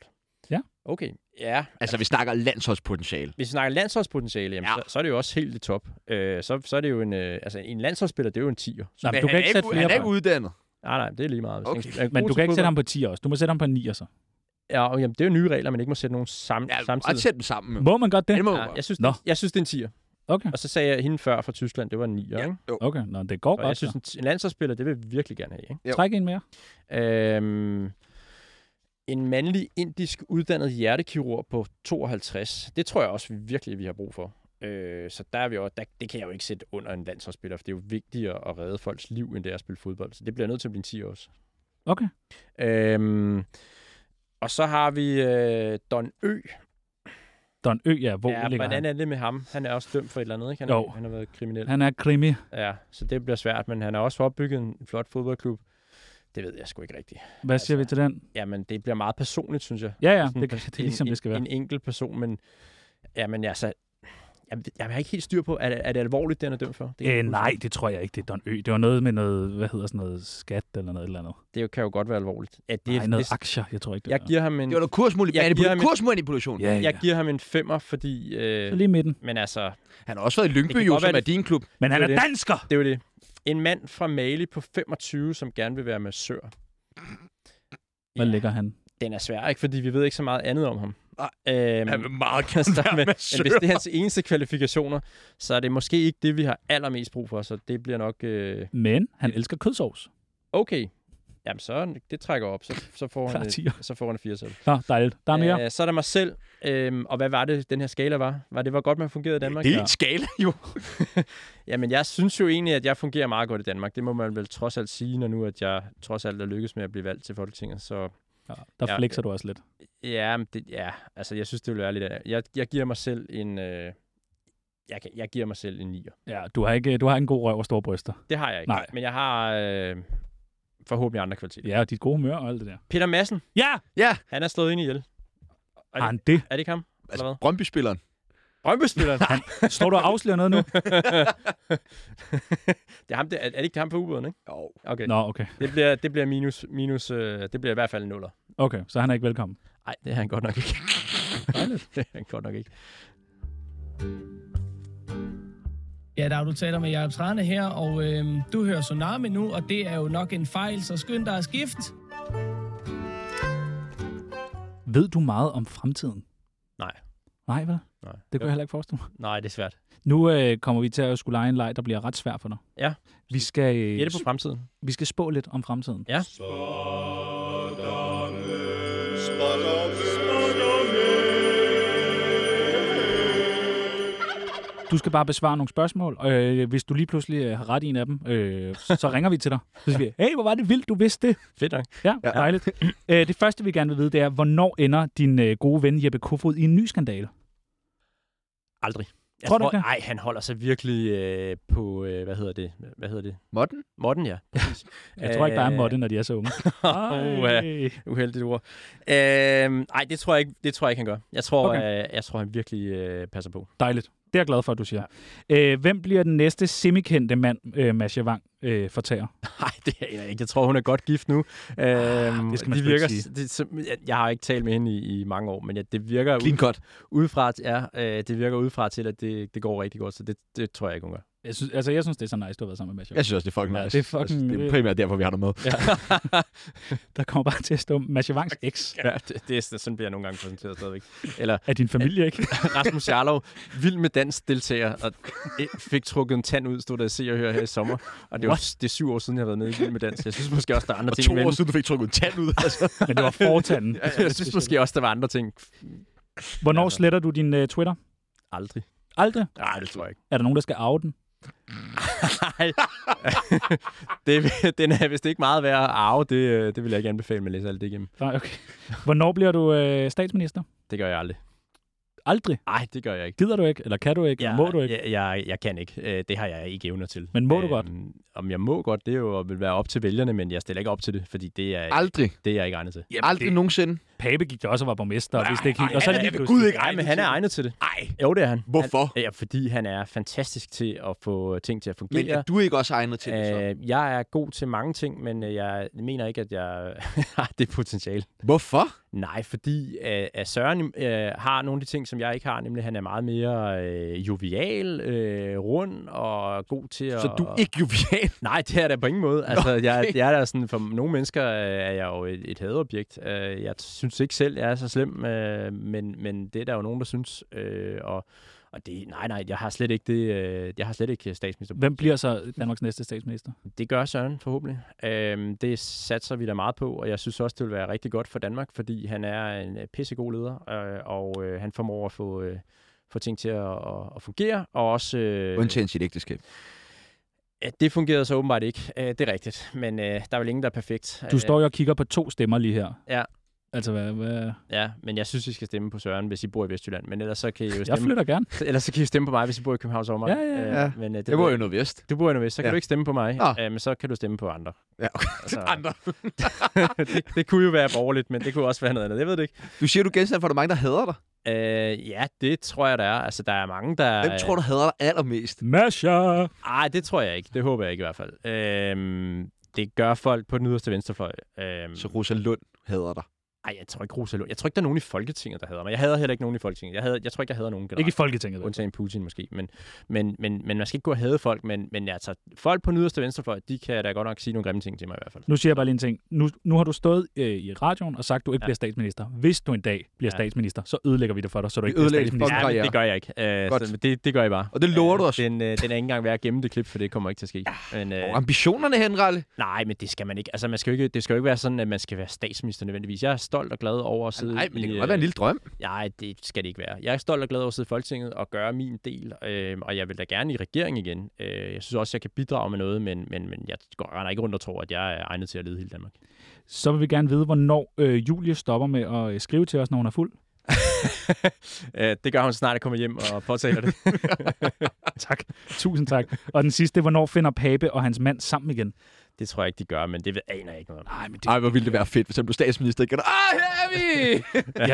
C: Ja.
D: Okay, ja.
A: Altså, vi snakker landsholdspotentiale.
D: Hvis vi snakker landsholdspotentiale, jamen,
A: Ja.
D: ja. så, så er det jo også helt i top. Øh, så, så er det jo en, øh, altså en landsholdsspiller, det er jo en 10'er. Så,
C: Nå, men
A: Men han
C: du kan
A: er
C: ikke sætte
A: han
C: flere
A: er ikke
C: på.
A: uddannet.
D: nej, nej, det er lige meget. Hvis
A: Okay.
D: en- er
C: Men
D: god
C: du
D: til
C: kan ikke sætte
D: fodbold-
C: ham på 10 også. Du må sætte ham på en 9 så.
D: Ja, og, jamen, det er jo nye regler, man ikke må sætte nogen sam,
A: Ja,
D: ja,
A: samtidig.
D: samtidig.
A: Ret sæt dem sammen. jo.
C: Må man godt det?
A: Ja, det må
D: Ja,
A: jeg...
D: jeg, synes,
C: Nå.
D: jeg synes, det er en 10'er.
C: Okay.
D: Og så sagde jeg, hende før fra Tyskland, det var en 9'er. Ja. Ikke?
C: Okay, nå, det går
D: Og jeg
C: godt.
D: synes,
C: så.
D: en, t- en landsholdsspiller, det vil vi virkelig gerne have. Ikke?
A: Jo.
C: Træk en mere.
D: Øhm, en mandlig indisk uddannet hjertekirurg på 52. Det tror jeg også vi virkelig, vi har brug for. Øh, så der er vi også, der, det kan jeg jo ikke sætte under en landsholdsspiller, for det er jo vigtigere at redde folks liv, end det er at spille fodbold. Så det bliver nødt til at blive en 10 også.
C: Okay.
D: Øhm, og så har vi øh, Don Ø.
C: Don Ø, ja, hvor
D: ja,
C: ligger
D: hvordan
C: han?
D: er det med ham? Han er også dømt for et eller andet, ikke? Han,
C: Jo.
D: er, han har været kriminel.
C: Han er krimi.
D: Ja, så det bliver svært, men han har også opbygget en flot fodboldklub. Det ved jeg sgu ikke rigtigt.
C: Hvad siger vi til den?
D: Jamen, det bliver meget personligt, synes jeg.
C: Ja, ja,
D: Sådan
C: det,
D: en-
C: det er ligesom
D: en,
C: det skal være.
D: En enkelt person, men... Jamen, altså... Jamen, det- jamen, jeg har ikke helt styr på, er det, er det alvorligt, den er dømt for? kan jeg
C: Øh,
D: ikke huske.
C: nej, det tror jeg ikke, det er Don Ø. Det var noget med noget, hvad hedder sådan noget, skat eller noget eller andet.
D: Det kan jo godt være alvorligt. Ja, det,
C: Det
D: er-
C: er nej, noget
D: det,
C: aktier, jeg tror ikke, det
D: jeg
C: er.
D: giver ham en...
A: Det var noget
D: Jeg giver
A: kursmanipulation.
D: ham et-
A: kursmanipulation.
C: Ja, ja.
D: Jeg giver ham en femmer, fordi... Øh,
C: Så lige i midten.
D: men altså,
A: Han har også været i Lyngby,
D: Det kan
A: jo,
D: godt
A: som
D: være,
A: er din klub.
C: Men han
D: Det
C: er
D: er det.
C: dansker!
D: det er jo det. En mand fra Mali på 25, som gerne vil være massør.
C: Hvad ligger han?
D: Den er svær, ikke? Fordi vi ved ikke så meget andet om ham.
A: Nej.
D: Øhm,
A: Han vil meget
D: kan
A: gerne
D: starte
A: være
D: med.
A: massør.
D: Men hvis det er hans eneste kvalifikationer, så er det måske ikke det, vi har allermest brug for, så det bliver nok... Øh,
C: Men han elsker kødsovs.
D: okay. Jamen, så det trækker op, så, så får
C: Klar
D: han et,
C: tier.
D: så får han en 4 selv.
C: Nå, dejligt. Der er mere.
D: Øh, så er der mig selv. Øhm, og hvad var det, den her skala var? Var det, hvor godt man fungerede i Danmark?
A: Det er en skala, jo.
D: Jamen, jeg synes jo egentlig, at jeg fungerer meget godt i Danmark. Det må man vel trods alt sige, når nu at jeg trods alt er lykkes med at blive valgt til Folketinget. Så
C: Ja, der
D: Ja,
C: flexer du også lidt.
D: ja, men det, ja altså, jeg synes, det vil være lidt... af- Jeg, jeg giver mig selv en... Øh, jeg, kan- jeg giver mig selv en 9'er.
C: Ja, du har ikke, du har ikke en god røv og store bryster.
D: Det har jeg ikke.
C: Nej.
D: Men jeg har øh, forhåbentlig andre kvaliteter.
C: Ja, og dit gode humør og alt det der.
D: Peter Madsen,
C: Ja!
D: han er slået ind ihjel. Og-
C: Har han det?
D: Er det ikke ham? Eller
A: Altså,
D: hvad?
A: Brøndby-spilleren.
D: Brøndby-spilleren.
C: Står du og afslører noget nu?
D: det er, ham, det, er, er det ikke ham på ubåden, ikke?
A: Jo.
D: Okay.
C: Nå, okay.
D: Det bliver, det bliver minus, minus øh, det bliver i hvert fald en nuller.
C: Okay, så han er ikke velkommen.
D: Nej, det er han godt nok ikke. det er han godt nok ikke.
J: Ja, der er du taler med Jacob Trane her, og øhm, øh, du hører Tsunami nu, og det er jo nok en fejl, så skynd dig at skifte.
C: Ved du meget om fremtiden?
D: Nej.
C: Nej, vel?
D: Nej.
C: Det kunne jeg heller ikke forestille mig.
D: Nej, det er svært.
C: Nu øh, kommer vi til at skulle lege en leg, der bliver ret svær for dig.
D: Ja.
C: Vi skal, øh,
D: Gætte på fremtiden.
C: vi skal spå lidt om fremtiden.
D: Ja.
C: Du skal bare besvare nogle spørgsmål. og, Øh, hvis du lige pludselig øh, har ret i en af dem, øh, så ringer vi til dig. Så siger vi, hey, hvor var det vildt, du vidste det.
D: Fedt nok.
C: Ja, ja. dejligt. Øh, det første, vi gerne vil vide, det er, hvornår ender din øh, gode ven Jeppe Kofod i en ny skandale?
D: Aldrig. Jeg
C: Tror du ikke det?
D: Nej, han holder sig virkelig øh, på, øh, hvad hedder det? Hvad hedder det?
A: Modden?
D: Morten, ja. Præcis.
C: Jeg tror ikke, der er en
D: Øh,
C: måtte, når de er så unge.
D: Uha.
C: Ej.
D: Uheldigt ord. Øhm, ej, det tror, jeg ikke, det tror jeg ikke, han gør. Jeg tror,
C: Okay.
D: okay. øh, jeg tror han virkelig øh, passer på.
C: Dejligt. Det er jeg glad for, at du siger. Ja. Øh, hvem bliver den næste semikendte mand, øh, Mads Javang øh, fortager?
D: Nej, det aner jeg ikke. Jeg tror, hun er godt gift nu.
C: det
D: Øhm,
C: skal man
D: de
C: sgu
D: virker,
C: ikke sige.
D: Det, som, jeg, jeg har ikke talt med hende i, i mange år, men ja, det virker
A: Clean
D: ud,
A: cut.
D: udefra, ja, øh, det virker udefra til, at det, det går rigtig godt, så det, det tror jeg ikke, hun gør.
C: Jeg synes, altså, jeg synes, det er så nice, du har været sammen med Mads Javang.
A: Jeg synes også, det er fucking
C: Ja,
A: nice.
C: det er fucking-
A: Altså, det er primært derfor, vi har dig med.
C: Der kommer bare til at stå Mads Javangs eks
D: Ja, det, det, er- sådan bliver jeg nogle gange præsenteret stadigvæk. Eller
C: af din familie, ikke?
D: Rasmus Jarlov, vild med dans deltager, og øh, fik trukket en tand ud, stod der og se og høre her i sommer. Og det, var, det er syv år siden, jeg har været med i Vild med Dans. Jeg synes måske også, der er andre
A: Og
D: ting.
A: to
D: i
A: år
D: vælden.
A: siden, du fik trukket en tand ud. Altså.
C: Men det var fortanden.
D: Ja, jeg synes måske også, der var andre ting.
C: Hvornår
D: altså.
C: sletter du din uh, Twitter?
D: Aldrig.
C: Aldrig.
D: Nej, det tror jeg ikke.
C: Er der nogen, der skal arve den?
D: Nej. det, den er vist ikke meget værd at arve. Det, øh, det vil jeg ikke anbefale, med at læse alt det igennem.
C: Nej, okay. Hvornår bliver du uh, statsminister?
D: Det gør jeg aldrig.
C: Aldrig.
D: Nej, det gør jeg ikke.
C: Gider du ikke? Eller kan du ikke? Ja, må du ikke?
D: Jeg, jeg, jeg kan ikke. Øh, Det har jeg ikke evner til. Øh,
C: Men må du godt?
D: Om jeg må godt, det er jo vil være op til vælgerne, men jeg stiller ikke op til det, fordi det er,
A: Aldrig.
D: det er jeg ikke egnet til.
A: Jamen, Aldrig det... nogensinde.
C: Pape gik der også og var borgmester, og hvis det ikke helt. Og så
A: han er
C: lige
A: ved
C: pludselig.
A: Gud ikke
D: Nej, men han er egnet til det. Nej. Jo, det er han.
A: Hvorfor?
D: Han, ja, fordi han er fantastisk til at få ting til at fungere.
A: Men er du ikke også egnet til det, så?
D: Øh, jeg er god til mange ting, men øh, jeg mener ikke, at jeg har det potentiale.
A: Hvorfor?
D: Nej, fordi øh, at Søren øh, har nogle af de ting, som jeg ikke har, nemlig han er meget mere øh, jovial, øh, rund og god til at...
A: Så du er ikke jovial?
D: Nej, det er der på ingen måde. Altså, okay. jeg,
A: okay.
D: jeg er der sådan, for nogle mennesker øh, er jeg jo et, et hadobjekt. Øh, Jeg synes ikke selv, jeg er så slem, øh, men, men det er der jo nogen, der synes. Øh, Og, og det, nej, nej, jeg har slet ikke det, øh, jeg har slet ikke statsminister.
C: Hvem bliver så Danmarks næste statsminister?
D: Det gør Søren forhåbentlig. Øhm, det satser vi da meget på, og jeg synes også, det vil være rigtig godt for Danmark, fordi han er en øh, pissegod leder, øh, og øh, han formår at få, øh, få ting til at, at, at fungere, og også... Øh,
A: Undtagen sit ægteskab.
D: ja, det fungerede så åbenbart ikke, øh, det er rigtigt, men øh, der er vel ingen, der er perfekt.
C: Du står jo og kigger på to stemmer lige her.
D: Ja.
C: Altså, hvad, hvad?
D: Øh, Ja, men jeg synes, I skal stemme på Søren, hvis I bor i Vestjylland, men ellers så kan I jo
C: Jeg
D: stemme,
C: flytter gerne.
D: ellers så kan I jo stemme på mig, hvis I bor i København sommer.
C: Ja, ja,
A: ja.
D: Øh, men, øh, det,
A: Det var jo noget vest.
D: Du bor i Nordvest, så kan
A: Ja.
D: ja. du ikke stemme på mig,
A: Nå.
D: øh, men så kan du stemme på andre.
A: Ja, okay.
D: Altså,
A: Andre.
D: det, det kunne jo være borgerligt, men det kunne også være noget andet, jeg ved det ikke.
A: Du siger, du er genstand for, at der er mange, der hader dig.
D: Øh, ja, det tror jeg, der er. Altså, der er mange, der...
A: Hvem tror du hader dig allermest?
C: Masha!
D: Ej, det tror jeg ikke. Det håber jeg ikke i hvert fald. Øh, det gør folk på den yderste venstrefløj. Øh,
A: Så Rosa Lund hader dig.
D: Ej, jeg tror ikke, Rosa Lund. Jeg tror ikke, der er nogen i Folketinget, der hader mig. Jeg hader heller ikke nogen i Folketinget. Jeg, hader, jeg tror ikke, jeg hader nogen generelt.
C: Ikke i Folketinget. vel?
D: Undtagen Putin måske. Men, men, men, men man skal ikke gå og hade folk, men, men altså, folk på den yderste venstrefløj, de kan da godt nok sige nogle grimme ting til mig i hvert fald.
C: Nu siger jeg bare lige en ting. Nu, nu har du stået øh, i radioen og sagt, at du ikke ja.
D: Ja.
C: bliver statsminister. Hvis du en dag bliver ja.
D: Ja.
C: statsminister, så ødelægger vi det for dig, så du
A: Vi
C: ikke bliver
A: ødelægger
C: statsminister.
A: fucking
D: Ja, men
A: karriere.
D: det gør jeg ikke. Øh,
A: Godt.
D: så, men det, det gør jeg bare.
A: Og det lover du os.
D: Den, øh, den er ikke engang værd at gemme det klip, for det kommer ikke til at ske. Men, øh,
A: Og ambitionerne, Henrik.
D: Nej, men det skal man ikke. Altså, man skal jo ikke, det skal jo ikke være sådan, at man skal være statsminister nødvendigvis. Jeg er stolt og glad over at sidde...
A: Altså, Nej, men det kan
D: i,
A: godt være en lille drøm.
D: øh, Nej, det skal det ikke være. Jeg er stolt og glad over at sidde i Folketinget og gøre min del, øh, og jeg vil da gerne i regering igen. Øh, jeg synes også, jeg kan bidrage med noget, men, men, men jeg går, render ikke rundt og tror, at jeg er egnet til at lede hele Danmark.
C: Så vil vi gerne vide, hvornår øh, Julie stopper med at øh, skrive til os, når hun er fuld.
D: Øh, det gør hun snart, at jeg kommer hjem og påtaler det.
C: Tak. Tusind tak. Og den sidste, hvornår finder Pape og hans mand sammen igen?
D: det tror jeg ikke, de gør, men det ved- aner jeg ikke noget om.
C: Nej, men det,
A: Ej, hvor ville det være fedt, hvis han blev statsminister igen. Ah, her er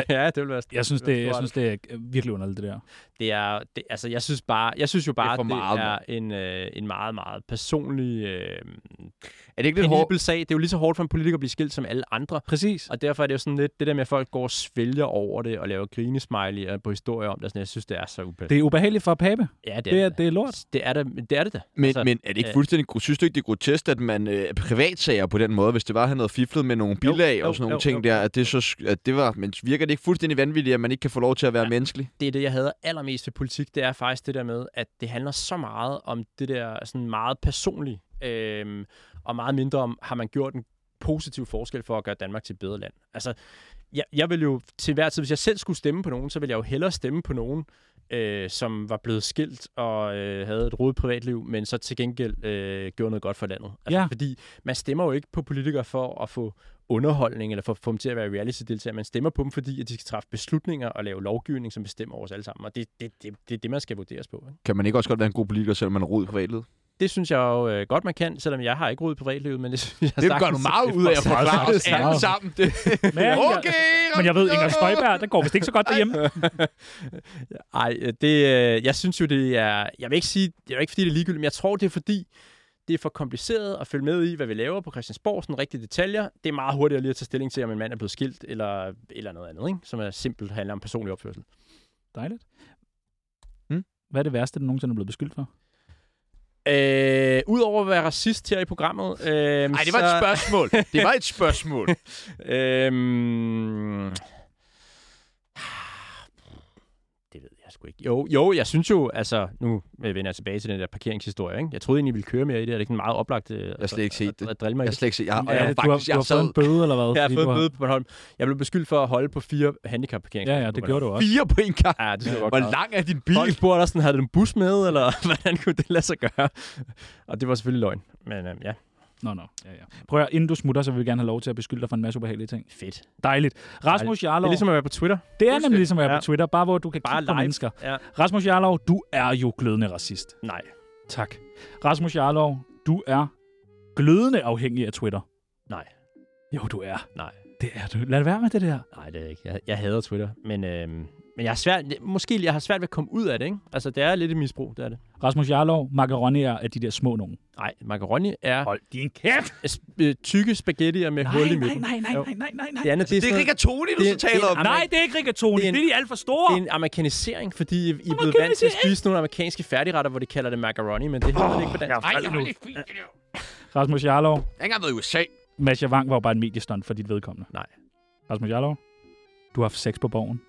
A: vi!
D: Ja, ja det vil være...
C: jeg synes,
D: det
C: det,
D: var
C: jeg
D: stort.
C: synes, det er øh, virkelig underligt, det der.
D: det er, det, altså jeg synes bare, jeg synes jo bare,
A: Det er for
D: det er,
A: meget,
D: det er en, øh, en meget, meget personlig, øh,
A: Er det ikke lidt hårdt?
D: penibel sag. Det er jo lige så hårdt for en politiker at blive skilt som alle andre.
C: Præcis.
D: Og derfor er det jo sådan lidt det der med, at folk går og svælger over det og laver grinesmiley på historier om det. og Sådan, jeg synes, det er så ubehageligt.
C: Det er ubehageligt for Pape.
D: ja,
C: Det er, det er lort.
D: det. er det, det er det da.
A: Men,
D: Altså,
A: men er det ikke
D: øh,
A: fuldstændig... gro- Synes du ikke, det er grotesk, at man øh, øh, privatsager på den måde, hvis det var, at han havde fiflet med nogle bilag
D: jo,
A: og sådan nogle
D: jo,
A: ting
D: jo.
A: der, at det, så, sk- at det var, men virker det ikke fuldstændig vanvittigt, at man ikke kan få lov til at være ja. menneskelig?
D: det er det, jeg hader allermest ved politik, det er faktisk det der med, at det handler så meget om det der sådan meget personlige, øhm, og meget mindre om, har man gjort en positiv forskel for at gøre Danmark til et bedre land. Altså, jeg, jeg vil jo til hver tid, hvis jeg selv skulle stemme på nogen, så ville jeg jo hellere stemme på nogen, øh, som var blevet skilt og øh, havde et rodet privatliv, men så til gengæld øh, gjorde noget godt for landet. Altså,
C: Ja.
D: Fordi man stemmer jo ikke på politikere for at få underholdning eller for at få dem til at være reality-deltagere. Man stemmer på dem, fordi at de skal træffe beslutninger og lave lovgivning, som bestemmer over os alle sammen. Og det, det, det, det er det, man skal vurderes på. Ikke?
A: Kan man ikke også godt være en god politiker, selvom man er rod i privatlivet?
D: Det synes jeg jo øh, godt, man kan, selvom jeg har ikke rodet privatlivet, men det synes jeg
A: Det gør du
D: sagtens-
A: meget ud af at forklare os
C: sagtens.
A: alle sammen. Det.
C: Men, jeg,
A: Okay,
C: men jeg ved, Inger
A: Rasmus
C: Støjberg, der går vist ikke så godt derhjemme.
D: Ej, øh, det, øh, jeg synes jo, det er... Jeg vil ikke sige, det er jo ikke, fordi det er ligegyldigt, men jeg tror, det er fordi, det er for kompliceret at følge med i, hvad vi laver på Christiansborg, sådan rigtige detaljer. Det er meget hurtigere lige at tage stilling til, om en mand er blevet skilt, eller, eller noget andet, ikke? som er simpelt handler om personlig opførsel.
C: Dejligt.
A: Mm.
C: Hvad er det værste, den nogensinde er blevet beskyldt for?
D: Øh, Udover at være racist her i programmet... Øh, Ej,
A: Nej, det var et spørgsmål. Det var et spørgsmål.
D: øh, Øhm... Det ved jeg sgu ikke. Jo, jo, jeg synes jo, altså, nu øh, vender jeg tilbage til den der parkeringshistorie, ikke? Jeg troede egentlig, I ville køre mere i det, er det ikke en meget oplagt... Øh, jeg
A: har slet ikke set det.
D: At, at drille mig i
A: Jeg har
D: det?
A: slet ikke set, jeg, og
C: Er
A: jeg, var
C: det,
A: faktisk,
C: du har,
A: jeg
C: du har fået
A: sad
C: en bøde, eller hvad?
D: Jeg har
C: Fordi
D: fået
C: du
D: en bøde på Bornholm. Jeg blev beskyldt for at holde på fire handicapparkeringspladser.
C: Ja, ja, det
D: på
C: gjorde du også.
A: fire på en gang.
D: Bornholm. Ja, Ah, det synes jeg godt.
A: Hvor
D: klare.
A: lang er din
D: Folk
A: bil?
D: spurgte også, sådan, havde du en bus med, eller hvordan kunne det lade sig gøre? Og det var selvfølgelig løgn. Men øhm, ja,
C: Nå, nå. Ja, ja. Prøv at, høre, inden du smutter, så vil vi gerne have lov til at beskylde dig for en masse ubehagelige ting.
D: fedt.
C: Dejligt. Rasmus
D: Dejligt. Det
C: Jarlov,
D: er ligesom at være på Twitter.
C: det er nemlig ligesom at være
D: Ja.
C: på Twitter, bare hvor du kan
D: Bare
C: kigge på
D: live.
C: mennesker.
D: Ja.
C: Rasmus Jarlov, du er jo glødende racist.
D: Nej.
C: Tak. Rasmus Jarlov, du er glødende afhængig af Twitter.
D: Nej.
C: Jo, du er.
D: Nej.
C: Det er du. Lad det være med det der.
D: Nej, det er jeg ikke. Jeg, jeg hader Twitter, men, øhm, men jeg har svært, det- måske jeg har svært ved at komme ud af det, ikke? Altså, det er lidt et misbrug, det er det.
C: Rasmus Jarlov, macaroni er af de der små nogen.
D: Nej, macaroni er
C: Hold din kæft!
D: sp- øh, tykke spaghettier med
C: Nej,
D: hul i
C: nej,
D: midten.
C: nej, nej,
D: Jo.
C: nej, nej, nej, nej.
D: Det andet, det er,
A: Det er
D: sådan,
A: rigatoni, du
D: Det-
A: så taler
D: det-
A: om.
C: Nej, det er ikke rigatoni.
D: Det er
C: Det
D: en-
C: er, de alt for
D: det
C: store.
D: er en amerikanisering, fordi I er blevet vant til at spise nogle amerikanske færdigretter, hvor de kalder det macaroni, men det hedder oh, det ikke på dansk.
A: Ej, nu.
C: Rasmus Jarlov,
A: Jeg har ikke engang været i USA.
C: Mads Javang var jo bare en mediestunt for dit vedkommende.
D: Nej.
C: Rasmus Jarlov, du har haft sex på borgen.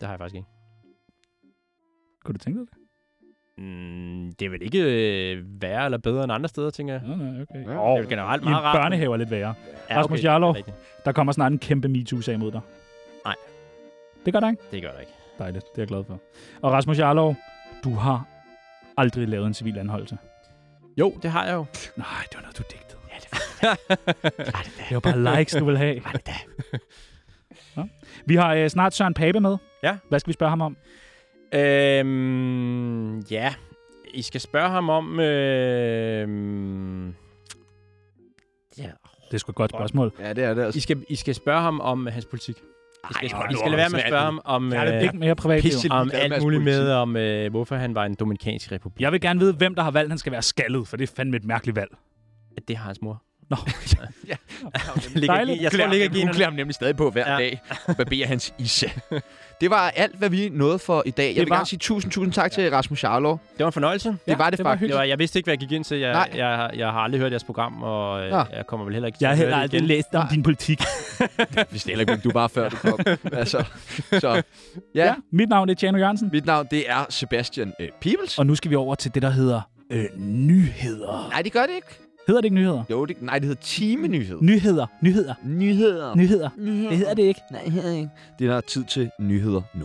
D: Det har jeg faktisk ikke.
C: Kunne du tænke dig det?
D: Mm, det er vel ikke øh, værre eller bedre end andre steder, tænker jeg.
C: Ja, nej, okay.
A: Ja.
D: Det er jo generelt
C: I en
D: meget rart.
C: børnehave er lidt værre.
D: Ja,
C: Rasmus
D: okay,
C: Jarlov.
D: det er rigtigt.
C: Der kommer snart en kæmpe MeToo-sag mod dig.
D: Nej.
C: Det gør der ikke?
D: Det gør der ikke.
C: Dejligt, det er jeg glad for. Og Rasmus Jarlov, du har aldrig lavet en civil anholdelse.
D: Jo, det har jeg jo.
C: Nej, det var noget, du digtede. Ja, det var det. var det, da. det var bare likes, du ville have. Det var det da. Nå. Vi har øh, snart Søren Pape med.
D: Ja.
C: Hvad skal vi spørge ham om?
D: Øhm, ja, I skal spørge ham om... Øhm, ja.
C: Det er sgu et godt spørgsmål.
A: Ja, det er det altså.
D: I, skal, I skal spørge ham om hans politik. I skal,
A: hold
D: I
A: nu
D: skal
A: op,
D: lade være med at
A: Svend.
D: spørge ham om,
C: Jeg er
D: øh,
C: lidt ikke mere privat.
A: Pisse. ligeglad
D: om
A: med
D: alt
A: hans
D: muligt
A: politik.
D: med, om øh, hvorfor han var en dominikansk republik.
C: Jeg vil gerne vide, hvem der har valgt, han skal være skaldet, for det er fandme et mærkeligt valg.
D: Det har hans mor.
C: Nå.
A: Ja.
D: ligger,
C: Dejligt.
D: jeg tror, ligger
A: Hun
D: generne.
A: klæder ham nemlig stadig på hver
D: Ja.
A: ja. dag og barberer hans isse. Det var alt, hvad vi nåede for i dag. Jeg
C: Det
A: vil
C: var-
A: gerne sige tusind, tusind tak til Rasmus Jarlov.
D: Det var en fornøjelse.
A: Det var det,
C: det
A: det
C: var
A: faktisk.
D: Det var, jeg vidste ikke, hvad jeg gik ind til. Jeg,
A: Nej.
D: jeg, jeg, har aldrig hørt jeres program, og øh,
A: Nå.
D: jeg kommer vel heller ikke til
C: Jeg har
D: at
C: heller
D: høre det
C: aldrig
D: igen.
C: læst om din politik.
A: Vi stiller ikke, hvem du var før du kom. Altså, så. Ja,
C: Ja.
A: ja,
C: Mit navn er Tjano Jørgensen.
A: mit navn det er Sebastian øh, Peebles.
C: Og nu skal vi over til det, der hedder øh, nyheder.
A: Nej, det gør det ikke.
C: Hedder det ikke nyheder?
A: Jo, det, nej, det hedder timenyhed.
C: Nyheder. Nyheder.
A: Nyheder.
C: Nyheder.
A: Nyheder.
C: Det hedder det ikke.
A: Nej, det hedder ikke. Det er der tid til nyheder nu.